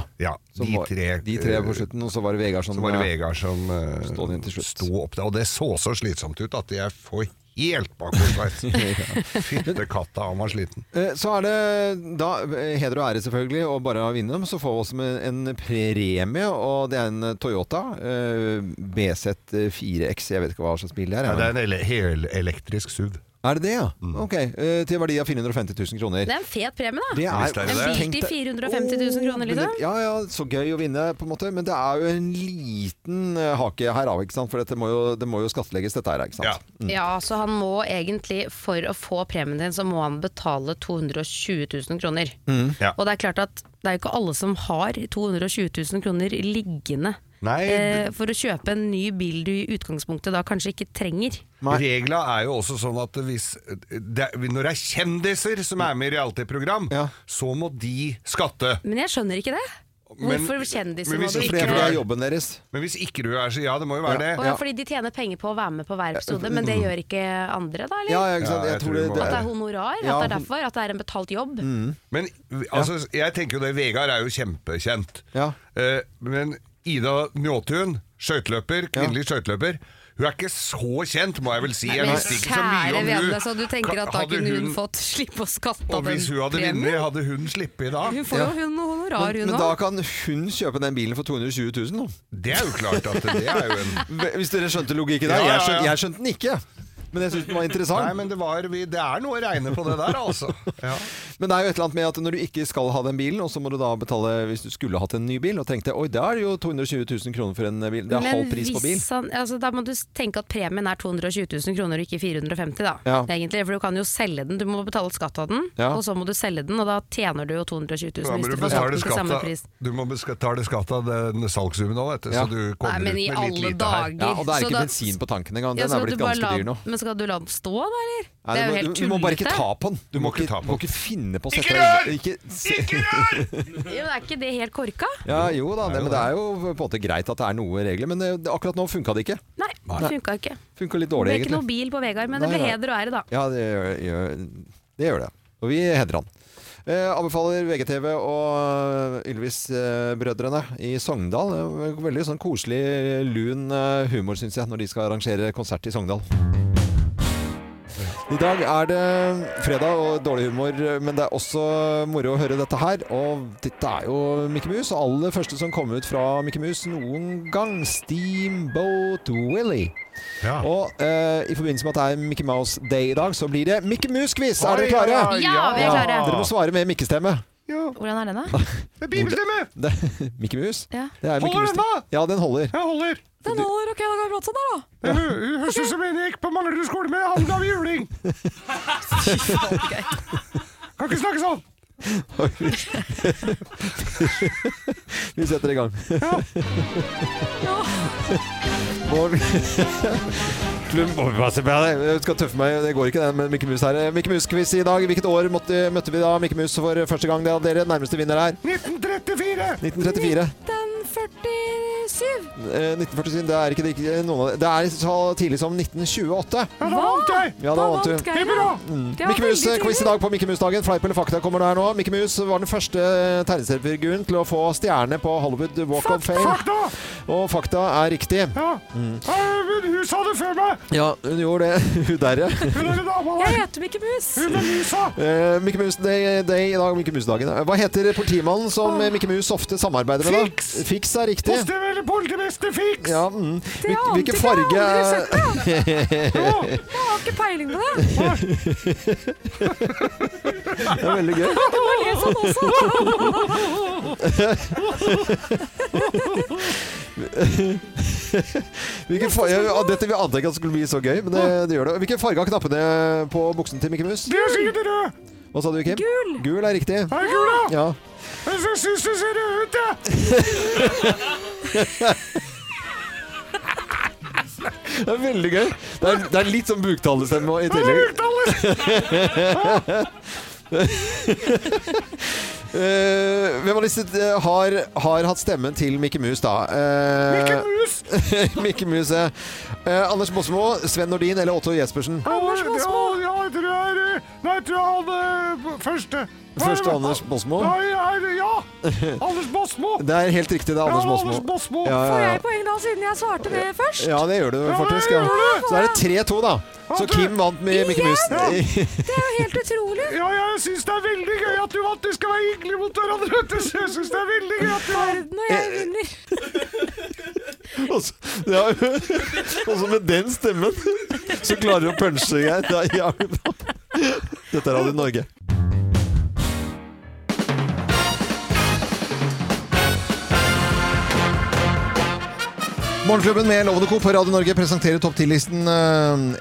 [SPEAKER 2] de, tre,
[SPEAKER 1] de tre på
[SPEAKER 2] eh,
[SPEAKER 1] slutten, og så var det Vegard som
[SPEAKER 2] så var det
[SPEAKER 1] eh,
[SPEAKER 2] Vegard som eh, sto opp der, og det så så slitsomt ut at jeg får helt bakoversveis. Fytte katta, han var sliten.
[SPEAKER 1] Eh, Så er det da eh, heder og ære selvfølgelig, og bare å vinne dem. Så får vi også med en premie, og det er en Toyota eh, BZ4X. Jeg vet ikke hva slags bil det er.
[SPEAKER 2] Ja, det er Mm. en
[SPEAKER 1] men-
[SPEAKER 2] ele helelektrisk SUV.
[SPEAKER 1] Er det det, ja? Ok. eh, Til verdi av 450 000 kroner.
[SPEAKER 4] Det er en fet premie, da.
[SPEAKER 1] Det er-
[SPEAKER 4] en bil
[SPEAKER 1] Tenk
[SPEAKER 4] til
[SPEAKER 1] det.
[SPEAKER 4] 450 000
[SPEAKER 1] Men
[SPEAKER 4] kroner,
[SPEAKER 1] det-
[SPEAKER 4] liksom.
[SPEAKER 1] Ja, ja, så gøy å vinne, på en måte. Men det er jo en liten eh, hake her av, ikke sant? For dette må jo, det må jo skattlegges, dette her, ikke sant?
[SPEAKER 4] Ja, så han må egentlig, for å få premien din, så må han betale 220 000 kroner.
[SPEAKER 1] Mm.
[SPEAKER 2] Ja.
[SPEAKER 4] Og det er klart at det er jo ikke alle som har 220 000 kroner liggende
[SPEAKER 2] Nei,
[SPEAKER 4] eh, for å kjøpe en ny bil du i utgangspunktet da kanskje ikke trenger.
[SPEAKER 2] Regla er jo også sånn at hvis det, er- Når det er kjendiser som er med i reality-program, så må de skatte.
[SPEAKER 4] Men jeg skjønner ikke det.
[SPEAKER 2] Men-
[SPEAKER 4] Hvorfor kjendiser
[SPEAKER 2] men
[SPEAKER 4] må
[SPEAKER 2] hvis
[SPEAKER 4] du
[SPEAKER 2] ikke
[SPEAKER 4] ikke
[SPEAKER 2] det er
[SPEAKER 1] jobben deres.
[SPEAKER 2] Men hvis ikke du er så Ja, det må jo være det.
[SPEAKER 4] Å ja, fordi de tjener penger på å være med på hver episode, men det gjør ikke andre, da? eller?
[SPEAKER 2] Ja, ja, ikke sant. Jeg Ja, jeg tror tror det- det må det-
[SPEAKER 4] At det er honorar? at
[SPEAKER 2] Ja,
[SPEAKER 4] det er
[SPEAKER 2] hon-
[SPEAKER 4] derfor? At det er en betalt jobb?
[SPEAKER 2] Men altså, jeg tenker jo det, Vegard er jo kjempekjent. Eh, men Ida Njåtun, skøyteløper, kvinnelig skøyteløper, hun er ikke så kjent, må jeg vel si.
[SPEAKER 4] Nei,
[SPEAKER 2] Jeg
[SPEAKER 4] men
[SPEAKER 2] visste ikke så mye
[SPEAKER 4] kjære
[SPEAKER 2] om hun.
[SPEAKER 4] vene, så du tenker
[SPEAKER 2] Ka-
[SPEAKER 4] at da
[SPEAKER 2] hadde
[SPEAKER 4] kunne hun
[SPEAKER 2] hun-
[SPEAKER 4] fått slippe å skatte av
[SPEAKER 2] Og
[SPEAKER 4] den
[SPEAKER 2] hvis hun hadde
[SPEAKER 4] premien?
[SPEAKER 2] vunnet, hadde hun sluppet i dag?
[SPEAKER 4] Hun får jo hun noe honorar,
[SPEAKER 1] Men,
[SPEAKER 4] hun
[SPEAKER 1] men da
[SPEAKER 4] òg.
[SPEAKER 1] kan hun kjøpe den bilen for 220 000, da.
[SPEAKER 2] Det er jo klart at det er jo en-
[SPEAKER 1] Hvis dere skjønte logikken der.
[SPEAKER 2] Ja, ja,
[SPEAKER 1] Jeg skjønte,
[SPEAKER 2] ja.
[SPEAKER 1] jeg skjønte den ikke. Men jeg syns den var interessant.
[SPEAKER 2] Nei, men det, var, vi, det er noe å regne på det der, altså. Ja.
[SPEAKER 1] Men det er jo et eller annet med at når du ikke skal ha den bilen, og så må du da betale hvis du skulle hatt en ny bil, og tenkte oi, da er det jo 220 000 kroner for en bil. Det er halv pris på bil.
[SPEAKER 4] hvis han, altså, da må du tenke at premien er 220 000 kroner og ikke 450 da,
[SPEAKER 1] Ja.
[SPEAKER 4] egentlig. For du kan jo selge den, du må betale skatt av den,
[SPEAKER 2] Ja.
[SPEAKER 4] og så må du selge den, og da tjener du jo 220 000
[SPEAKER 2] Da må
[SPEAKER 4] hvis
[SPEAKER 2] du
[SPEAKER 4] du får skatten til
[SPEAKER 2] betale skatt
[SPEAKER 4] samme
[SPEAKER 2] av-
[SPEAKER 4] pris.
[SPEAKER 2] Du må betale skatt av den salgssummen òg, vet du.
[SPEAKER 1] Ja.
[SPEAKER 2] Så du
[SPEAKER 4] Nei,
[SPEAKER 2] kommer
[SPEAKER 4] men i
[SPEAKER 2] ut med litt
[SPEAKER 4] alle
[SPEAKER 2] lite
[SPEAKER 4] dager,
[SPEAKER 2] her.
[SPEAKER 4] Ja, og det er så ikke da- bensin
[SPEAKER 1] På tanken engang.
[SPEAKER 4] Ja,
[SPEAKER 1] Den
[SPEAKER 4] skal
[SPEAKER 1] er
[SPEAKER 4] du
[SPEAKER 1] blitt
[SPEAKER 4] bare
[SPEAKER 1] ganske
[SPEAKER 4] la-
[SPEAKER 1] dyr nå.
[SPEAKER 4] Men skal du la den stå da, eller?
[SPEAKER 1] Nei, du
[SPEAKER 4] det er jo
[SPEAKER 1] må-
[SPEAKER 4] helt
[SPEAKER 1] du,
[SPEAKER 4] tullete.
[SPEAKER 1] må bare ikke ta på den. Du må ikke, må ikke finne på å sette deg Ikke rør!
[SPEAKER 4] Jo, er ikke det helt korka?
[SPEAKER 1] Ja, jo da, det, men det er jo på en måte greit at det er noe regler, men det- akkurat nå funka det ikke.
[SPEAKER 4] Nei, det funka ikke.
[SPEAKER 1] Funka litt
[SPEAKER 4] Det ble
[SPEAKER 1] dårlig,
[SPEAKER 4] ikke
[SPEAKER 1] egentlig.
[SPEAKER 4] noe bil på Vegard, men det
[SPEAKER 1] Nei,
[SPEAKER 4] ble
[SPEAKER 1] nei.
[SPEAKER 4] heder og ære, da.
[SPEAKER 1] Ja, det gjør gjør- det. Gjør det. Og vi hedrer han. Eh, anbefaler VGTV og eh, Ylvis-brødrene i Sogndal. Eh, Veldig sånn koselig, lun eh, humor, syns jeg, når de skal arrangere konsert i Sogndal. I dag er det fredag og dårlig humor, men det er også moro å høre dette her. Og dette er jo Mikke Mus, og aller første som kom ut fra Mikke Mus noen gang, Steamboat Willie. Og eh, i forbindelse med at det er Mickey Mouse Day i dag, så blir det Mikke Mus-quiz! Er dere klare?
[SPEAKER 4] Ja, vi er klare.
[SPEAKER 1] Dere må svare med mikkestemme.
[SPEAKER 4] Hvordan er den, da?
[SPEAKER 2] Det er bibelstemme!
[SPEAKER 1] Det, Mikke Mus?
[SPEAKER 4] Ja.
[SPEAKER 1] Det er Mickey
[SPEAKER 2] Holder
[SPEAKER 1] Mouse
[SPEAKER 2] den
[SPEAKER 1] Day. Ja, den holder.
[SPEAKER 2] Jeg holder.
[SPEAKER 4] Den holder, ok, da går det brått sånn der, da.
[SPEAKER 2] Det hø- høres ut som en jeg gikk på Manglerud skole med han av juling! Kan ikke snakke sånn!
[SPEAKER 1] Vi setter i gang. Bård Klum, må vi passe på deg. Jeg skal tøffe meg, det går ikke det med Mikke Mus her. Mikke Mus-quiz i dag. Hvilket år måtte, møtte vi da Mikke Mus for første gang? Det er dere nærmeste vinner her.
[SPEAKER 2] 1934!
[SPEAKER 1] 1934.
[SPEAKER 4] 1947.
[SPEAKER 1] Eh, 1947, det er ikke det, ikke noen av det. Det er så tidlig som 1928.
[SPEAKER 2] Ja, da vant jeg!
[SPEAKER 1] Ja, da vant du. Mm. Mikke Mus-quiz i dag på Mikke Mus-dagen. Fleip eller fakta kommer der nå. Mikke Mus var den første tegneseriefiguren til å få stjerne på Hollywood Walk of Fame.
[SPEAKER 2] Fakta!
[SPEAKER 1] Og fakta er riktig.
[SPEAKER 2] Ja.
[SPEAKER 1] Mm.
[SPEAKER 2] Eh, Men hun sa det før meg!
[SPEAKER 1] Ja, hun gjorde det. Hun derre.
[SPEAKER 2] Hun er en dame der.
[SPEAKER 4] Jeg heter Mikke Mus.
[SPEAKER 2] Hun er musa!
[SPEAKER 1] Eh, Mikke Mus Day, Day i dag. Mikke Mus-dagen. Hva heter politimannen som eh, Mikke Mus ofte samarbeider med? da?
[SPEAKER 2] Fiks!
[SPEAKER 1] Fiks er riktig.
[SPEAKER 2] Postivere politimester Fiks!
[SPEAKER 1] Ja, mm.
[SPEAKER 2] Det
[SPEAKER 1] Hvil-
[SPEAKER 2] ante
[SPEAKER 1] Hvilken
[SPEAKER 2] ikke,
[SPEAKER 1] farge
[SPEAKER 2] jeg har aldri
[SPEAKER 1] er
[SPEAKER 4] Jeg har ikke peiling på det.
[SPEAKER 1] Det er veldig gøy.
[SPEAKER 4] Det var litt sånn
[SPEAKER 1] Hvilken farge, ja, dette vi ante ikke at det skulle bli så gøy, men det, det gjør det. Hvilken farge har knappene på buksen til Mikke Mus?
[SPEAKER 2] Du er sikkert rød!
[SPEAKER 1] Hva sa du, Kim? Gul! Gul er riktig.
[SPEAKER 2] Er du gul, da?
[SPEAKER 1] Ja.
[SPEAKER 2] Jeg syns du ser rød ut, jeg!
[SPEAKER 1] Det er veldig gøy. Det er, det er litt sånn buktalestemme i tillegg. Eh, hvem av disse eh, har, har hatt stemmen til Mikke Mus, da? Eh, Mikke Mus, ja. Eh, Anders Båsmo, Sven Nordin eller Otto Jespersen?
[SPEAKER 12] Anders Båsmo! Ja, jeg tror jeg er Nei, jeg tror han eh, første. Hva er det-
[SPEAKER 1] Første Anders Båsmo.
[SPEAKER 12] Nei, jeg er- ja! Anders Båsmo!
[SPEAKER 1] Det er helt riktig, det er Anders
[SPEAKER 12] Ja,
[SPEAKER 1] Båsmo.
[SPEAKER 12] Anders Båsmo.
[SPEAKER 1] Ja, ja,
[SPEAKER 4] Får
[SPEAKER 1] ja.
[SPEAKER 4] jeg poeng da, siden jeg svarte det først?
[SPEAKER 1] Ja, det gjør du faktisk. Ja. Så er det 3-2, da. Så Kim vant med Mikke Mus.
[SPEAKER 12] Det er jo helt utrolig. Ja, jeg syns det er veldig gøy at du vant. De skal være hyggelige mot hverandre. vet du. Så Jeg syns det er veldig gøy at du vant.
[SPEAKER 4] Når
[SPEAKER 1] jeg
[SPEAKER 4] vinner.
[SPEAKER 1] Og så- ja, og så med den stemmen så klarer du å punche Geir. Det er jævlig bra. Dette er Radio Norge. Morgenklubben med Lovende Co. på Radio Norge presenterer topp 10-listen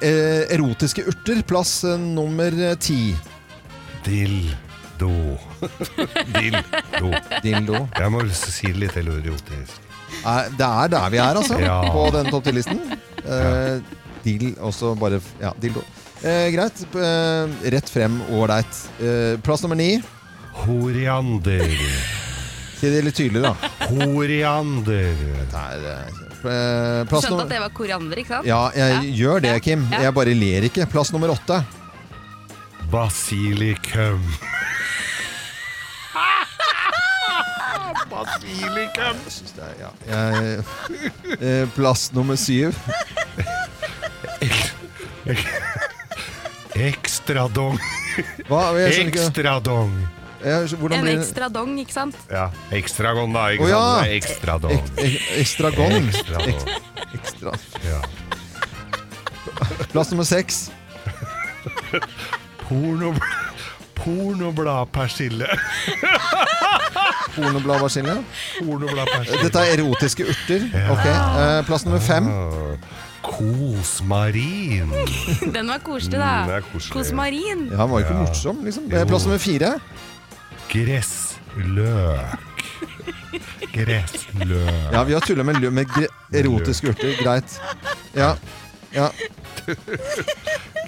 [SPEAKER 1] eh, Erotiske urter, plass eh, nummer ti.
[SPEAKER 2] Dildo. Dildo.
[SPEAKER 1] Dildo.
[SPEAKER 2] Jeg må si det litt erotisk.
[SPEAKER 1] Nei, Det er der vi er, altså,
[SPEAKER 2] Ja.
[SPEAKER 1] på den topp 10-listen. Eh, Dill, og så bare f- Ja, dildo. Eh, greit. Eh, rett frem, ålreit. Eh, plass nummer ni.
[SPEAKER 2] Horiander.
[SPEAKER 1] Si det litt tydeligere, da.
[SPEAKER 2] Horiander.
[SPEAKER 1] Eh, plass
[SPEAKER 4] Skjønte at
[SPEAKER 1] nummer
[SPEAKER 4] det var koriander, ikke sant?
[SPEAKER 1] Ja, jeg gjør det, Kim.
[SPEAKER 4] Ja.
[SPEAKER 1] Jeg bare ler ikke. Plass nummer åtte.
[SPEAKER 2] Basilikum.
[SPEAKER 12] Basilikum.
[SPEAKER 1] Jeg, eh, plass nummer syv.
[SPEAKER 2] Ekstradong.
[SPEAKER 1] Hva? Jeg skjønner ikke.
[SPEAKER 2] Ekstradong.
[SPEAKER 1] Jeg, hvordan
[SPEAKER 4] En
[SPEAKER 1] blir det?
[SPEAKER 4] ekstra dong, ikke sant?
[SPEAKER 2] Ja, ekstragon da, ikke
[SPEAKER 1] Å, ja.
[SPEAKER 2] sant? Det er Ekstradong.
[SPEAKER 1] Ek- ek- ekstragon.
[SPEAKER 2] Ekstradong.
[SPEAKER 1] Ekstra.
[SPEAKER 2] Ja.
[SPEAKER 1] Plass nummer seks.
[SPEAKER 2] Porno... Pornobladpersille.
[SPEAKER 1] Pornobladpersille.
[SPEAKER 2] Pornobladpersille.
[SPEAKER 1] Dette er erotiske urter. Ok. Eh, plass nummer fem.
[SPEAKER 2] Kosmarin.
[SPEAKER 4] Den var koselig, da.
[SPEAKER 2] Mm, det er koselig.
[SPEAKER 4] Kosmarin.
[SPEAKER 1] Ja, han var jo ikke
[SPEAKER 2] Ja.
[SPEAKER 1] morsom, liksom.
[SPEAKER 2] Jo.
[SPEAKER 1] Eh, plass nummer fire.
[SPEAKER 2] Gressløk. Gressløk.
[SPEAKER 1] Ja, vi har tulla med, lø- med gre erotiske urter. Greit. Ja. Ja.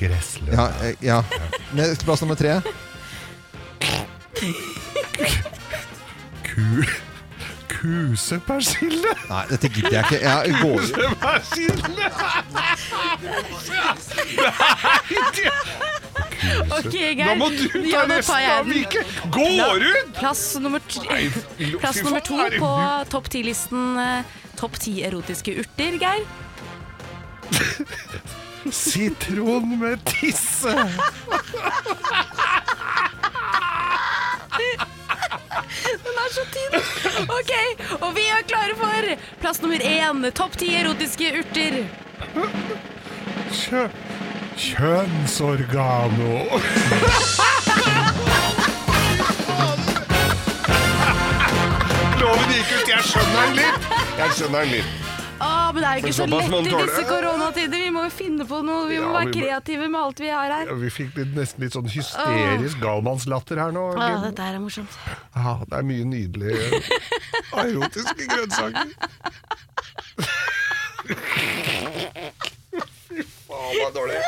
[SPEAKER 2] Gressløk.
[SPEAKER 1] ja, eh, ja. Ne- Plass nummer tre.
[SPEAKER 2] Ku... Kusepersille.
[SPEAKER 1] Nei, dette gidder jeg ikke. Jeg går
[SPEAKER 12] Kusepersille!
[SPEAKER 4] Ok, Geir.
[SPEAKER 12] Nå må du ta
[SPEAKER 4] Ja, nå
[SPEAKER 12] resten
[SPEAKER 4] tar jeg
[SPEAKER 12] av
[SPEAKER 4] den.
[SPEAKER 12] Vike. Går
[SPEAKER 4] La-
[SPEAKER 12] ut!
[SPEAKER 4] Plass nummer, t-
[SPEAKER 12] Nei, fy
[SPEAKER 4] plass
[SPEAKER 12] faen,
[SPEAKER 4] nummer to
[SPEAKER 12] er det
[SPEAKER 4] på topp ti-listen eh, Topp ti erotiske urter, Geir.
[SPEAKER 2] Sitron med tisse.
[SPEAKER 4] Den er så tynn! Ok, og vi er klare for plass nummer én. Topp ti erotiske urter.
[SPEAKER 2] Kjø... Kjønnsorgano. Loven gikk ut. Jeg skjønner den litt. Jeg skjønner den litt.
[SPEAKER 4] Å, men det er jo ikke
[SPEAKER 2] For
[SPEAKER 4] så
[SPEAKER 2] såpass
[SPEAKER 4] lett
[SPEAKER 2] man
[SPEAKER 4] i
[SPEAKER 2] tåler.
[SPEAKER 4] disse koronatider. Vi må jo finne på noe. Vi må
[SPEAKER 2] Ja,
[SPEAKER 4] være
[SPEAKER 2] vi må-
[SPEAKER 4] kreative med alt vi har her.
[SPEAKER 2] Ja, vi fikk litt, nesten litt sånn hysterisk galmannslatter her nå.
[SPEAKER 4] Å,
[SPEAKER 2] Kim.
[SPEAKER 4] dette her er morsomt.
[SPEAKER 2] Ja, det er mye nydelige erotiske grønnsaker. Fy faen, det var dårlig.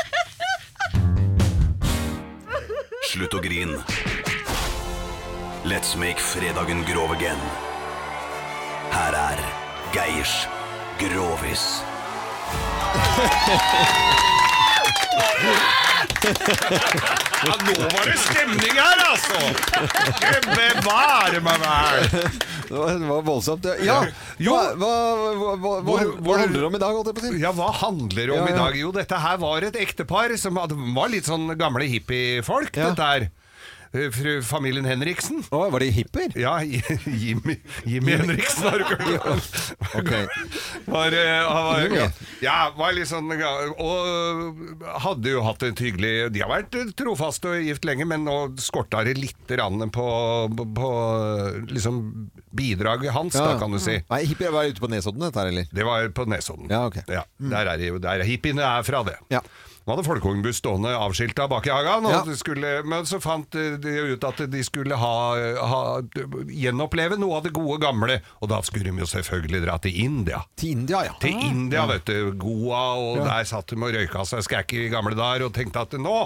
[SPEAKER 17] Slutt å grin. Let's make fredagen grov again. Her er Geirs Grovis.
[SPEAKER 12] Ja, nå var det stemning her, altså! Bevare meg vel!
[SPEAKER 1] Det var, det var voldsomt. Ja,
[SPEAKER 2] Jo.
[SPEAKER 1] hva, hva, hva, hva, hva handler det om i dag? holdt jeg på å si?
[SPEAKER 2] Ja, hva handler det om
[SPEAKER 1] Ja, ja.
[SPEAKER 2] i dag? Jo, dette her var et ektepar som hadde- var litt sånn gamle hippiefolk, dette her. Eh, Fru familien Henriksen.
[SPEAKER 1] Å, var de hipper?
[SPEAKER 2] Ja, Jimmy, Jimmy Henriksen har du ikke hørt om.
[SPEAKER 1] Ok.
[SPEAKER 2] Var, eh, han var,
[SPEAKER 1] Jimmy.
[SPEAKER 2] ja, var litt sånn ga- Og eh, hadde jo hatt et hyggelig De har vært trofaste og gift lenge, men nå skorta det litt rann på, på, på liksom bidraget hans, da, kan du si.
[SPEAKER 1] Nei, hippier var ute på Nesodden, dette her, eller?
[SPEAKER 2] Det var på Nesodden.
[SPEAKER 1] Ja, ok.
[SPEAKER 2] Ja, der er, det jo- der er hippiene er fra det. De hadde folkevognbuss stående avskilta bak i hagen, og
[SPEAKER 1] Ja.
[SPEAKER 2] det skulle, men så fant eh, de ut at de skulle ha, ha, gjenoppleve noe av det gode gamle. Og da skulle de jo selvfølgelig dra til India.
[SPEAKER 1] Til India, ja.
[SPEAKER 2] Til India, vet du. Goa, og
[SPEAKER 1] Ah. Ja.
[SPEAKER 2] der satt de og røyka seg skækker i gamle dager og tenkte at nå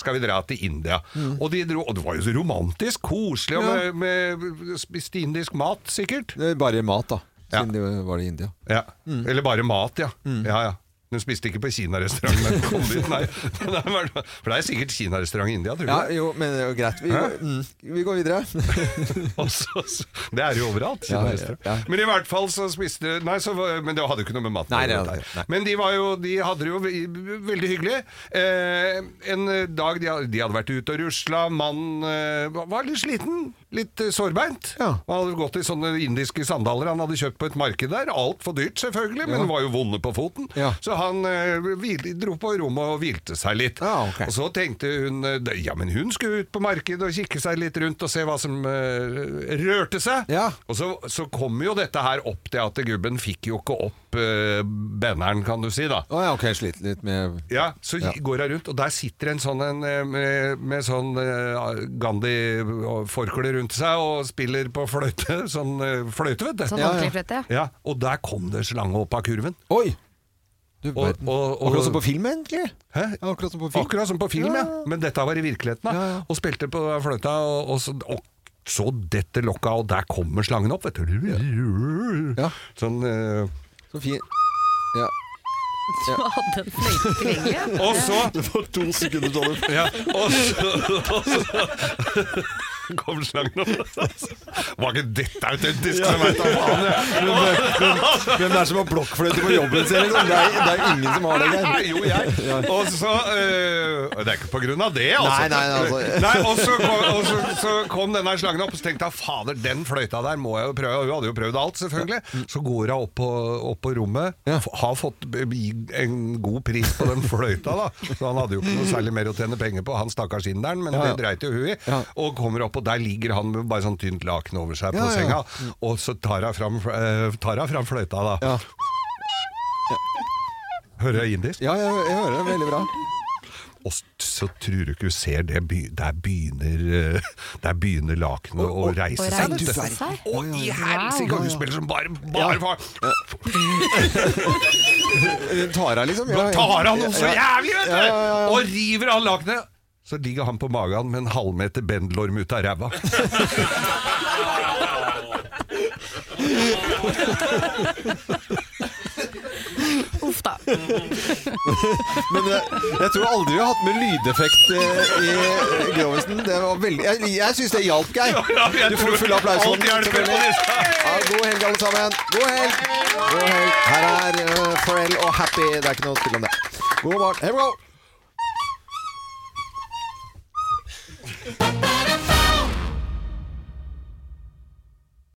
[SPEAKER 2] skal vi dra til India. Og de dro, og det var jo så romantisk, koselig, og
[SPEAKER 1] Mm. Ja.
[SPEAKER 2] med, med spiste indisk mat, sikkert.
[SPEAKER 1] Det er bare mat, da. Siden det var det i India.
[SPEAKER 2] Ja. Eller bare mat, ja. ja, ja. Hun spiste ikke på kinarestaurant, men kom dit, nei. Men der var det- For det er sikkert kinarestaurant i India, tror
[SPEAKER 1] Ja,
[SPEAKER 2] du?
[SPEAKER 1] jo, men det er jo greit. Vi,
[SPEAKER 2] Hæ?
[SPEAKER 1] mm, vi går videre.
[SPEAKER 2] Og så- så- det er jo overalt.
[SPEAKER 1] Ja,
[SPEAKER 2] kinarestaurant.
[SPEAKER 1] ja, ja.
[SPEAKER 2] Men i hvert fall så spiste Nei, så, var- men det hadde jo ikke noe med maten
[SPEAKER 1] Nei,
[SPEAKER 2] å gjøre,
[SPEAKER 1] nei, nei, nei.
[SPEAKER 2] Men de, var jo, de hadde det jo ve- veldig hyggelig. Eh, en dag de, had- de hadde vært ute og rusla, mannen eh, var- var litt sliten, litt eh, sårbeint. Han hadde gått i sånne indiske sandaler han hadde kjøpt på et marked der. Altfor dyrt, selvfølgelig, men
[SPEAKER 1] Ja.
[SPEAKER 2] var jo vonde på foten. Så han eh, hvil, dro på rommet og hvilte seg litt.
[SPEAKER 1] Ah,
[SPEAKER 2] Og så tenkte hun eh, d- ja, men hun skulle ut på markedet og kikke seg litt rundt og se hva som eh, rørte seg. Og så, så kom jo dette her opp til at gubben fikk jo ikke opp eh, benneren, kan du si, da.
[SPEAKER 1] Å ja, ok, sliter litt med
[SPEAKER 2] Ja, så
[SPEAKER 1] Ja.
[SPEAKER 2] går hun rundt, og der sitter en sånn en, eh, med, med sånn eh, Gandhi-forkle rundt seg og spiller på fløyte. Sånn eh, fløyte, vet du.
[SPEAKER 4] Sånn ordentlig fløyte,
[SPEAKER 2] ja. Og der kom det en slange opp av kurven.
[SPEAKER 1] Oi!
[SPEAKER 2] og, og, og,
[SPEAKER 1] Akkurat som på film, egentlig.
[SPEAKER 2] Hæ?
[SPEAKER 1] Akkurat som på film.
[SPEAKER 2] Akkurat som på film, ja.
[SPEAKER 1] Ja, ja.
[SPEAKER 2] Men dette var i virkeligheten, da. Og spilte på fløyta, og, og, så, og så detter lokka, og der kommer slangen opp, vet du. Sånn eh,
[SPEAKER 1] Så fin. Ja.
[SPEAKER 4] Du hadde en fløyte tilgjengelig.
[SPEAKER 2] Og så
[SPEAKER 1] Det var to sekunder til det.
[SPEAKER 2] ja, og så, og så kom slangen opp. Var ikke dette autentisk? Ja. Jeg vet da faen, jeg.
[SPEAKER 1] Hvem er- hvem- hvem er det som har blokkfløyte på jobben sin? liksom? Det er, det er ingen som har det der.
[SPEAKER 2] Nei, jo, jeg. Og så eh, Det er ikke på grunn av det, altså.
[SPEAKER 1] Nei, nei, altså.
[SPEAKER 2] Nei, og så kom, og så, så kom denne slangen opp, og så tenkte jeg fader, den fløyta der må jeg jo prøve. Og Hun hadde jo prøvd alt, selvfølgelig.
[SPEAKER 1] Mm.
[SPEAKER 2] Så går hun opp på, opp på rommet, f- har fått b- b- en god pris på den fløyta, da. Så han hadde jo ikke noe særlig mer å tjene penger på, han stakkars inderen, men
[SPEAKER 1] Ja, ja.
[SPEAKER 2] det dreit jo hun i. Og kommer opp, og der ligger han med bare sånn tynt laken over seg på
[SPEAKER 1] Ja, Mm. ja.
[SPEAKER 2] senga, og så tar hun fram, eh, tar hun fram fløyta, da. Hører jeg indisk?
[SPEAKER 1] Ja, jeg, jeg hører det veldig bra.
[SPEAKER 2] Og s- så tror du ikke hun ser det, by, der begynner, eh, der begynner lakenet å
[SPEAKER 12] å
[SPEAKER 2] reise seg.
[SPEAKER 12] reise
[SPEAKER 2] vet du.
[SPEAKER 12] seg?
[SPEAKER 2] Og i
[SPEAKER 12] Wow.
[SPEAKER 2] helsike, og hun spiller som bare, bare far.
[SPEAKER 1] Tara, liksom.
[SPEAKER 2] Da tar han noe så
[SPEAKER 1] Ja.
[SPEAKER 2] jævlig, vet du!
[SPEAKER 1] Ja, ja, ja.
[SPEAKER 2] Og river av lakenet. Så ligger han på magen med en halvmeter bendelorm ut av ræva.
[SPEAKER 4] Uff da.
[SPEAKER 1] Men jeg, jeg tror aldri vi har hatt med lydeffekt eh, i Grovisen. Det var veldig Jeg, jeg syns det hjalp, Geir.
[SPEAKER 12] Ja, ja, jeg
[SPEAKER 1] Du får
[SPEAKER 12] tror
[SPEAKER 1] full applaus. for
[SPEAKER 12] alt
[SPEAKER 1] den,
[SPEAKER 12] hjelper på
[SPEAKER 1] selvfølgelig.
[SPEAKER 12] disse.
[SPEAKER 1] Ja, god helg, alle sammen. God helg. God helg. Her er eh, Pharrell og Happy. Det er ikke noe tvil om det. God morgen. Here we go.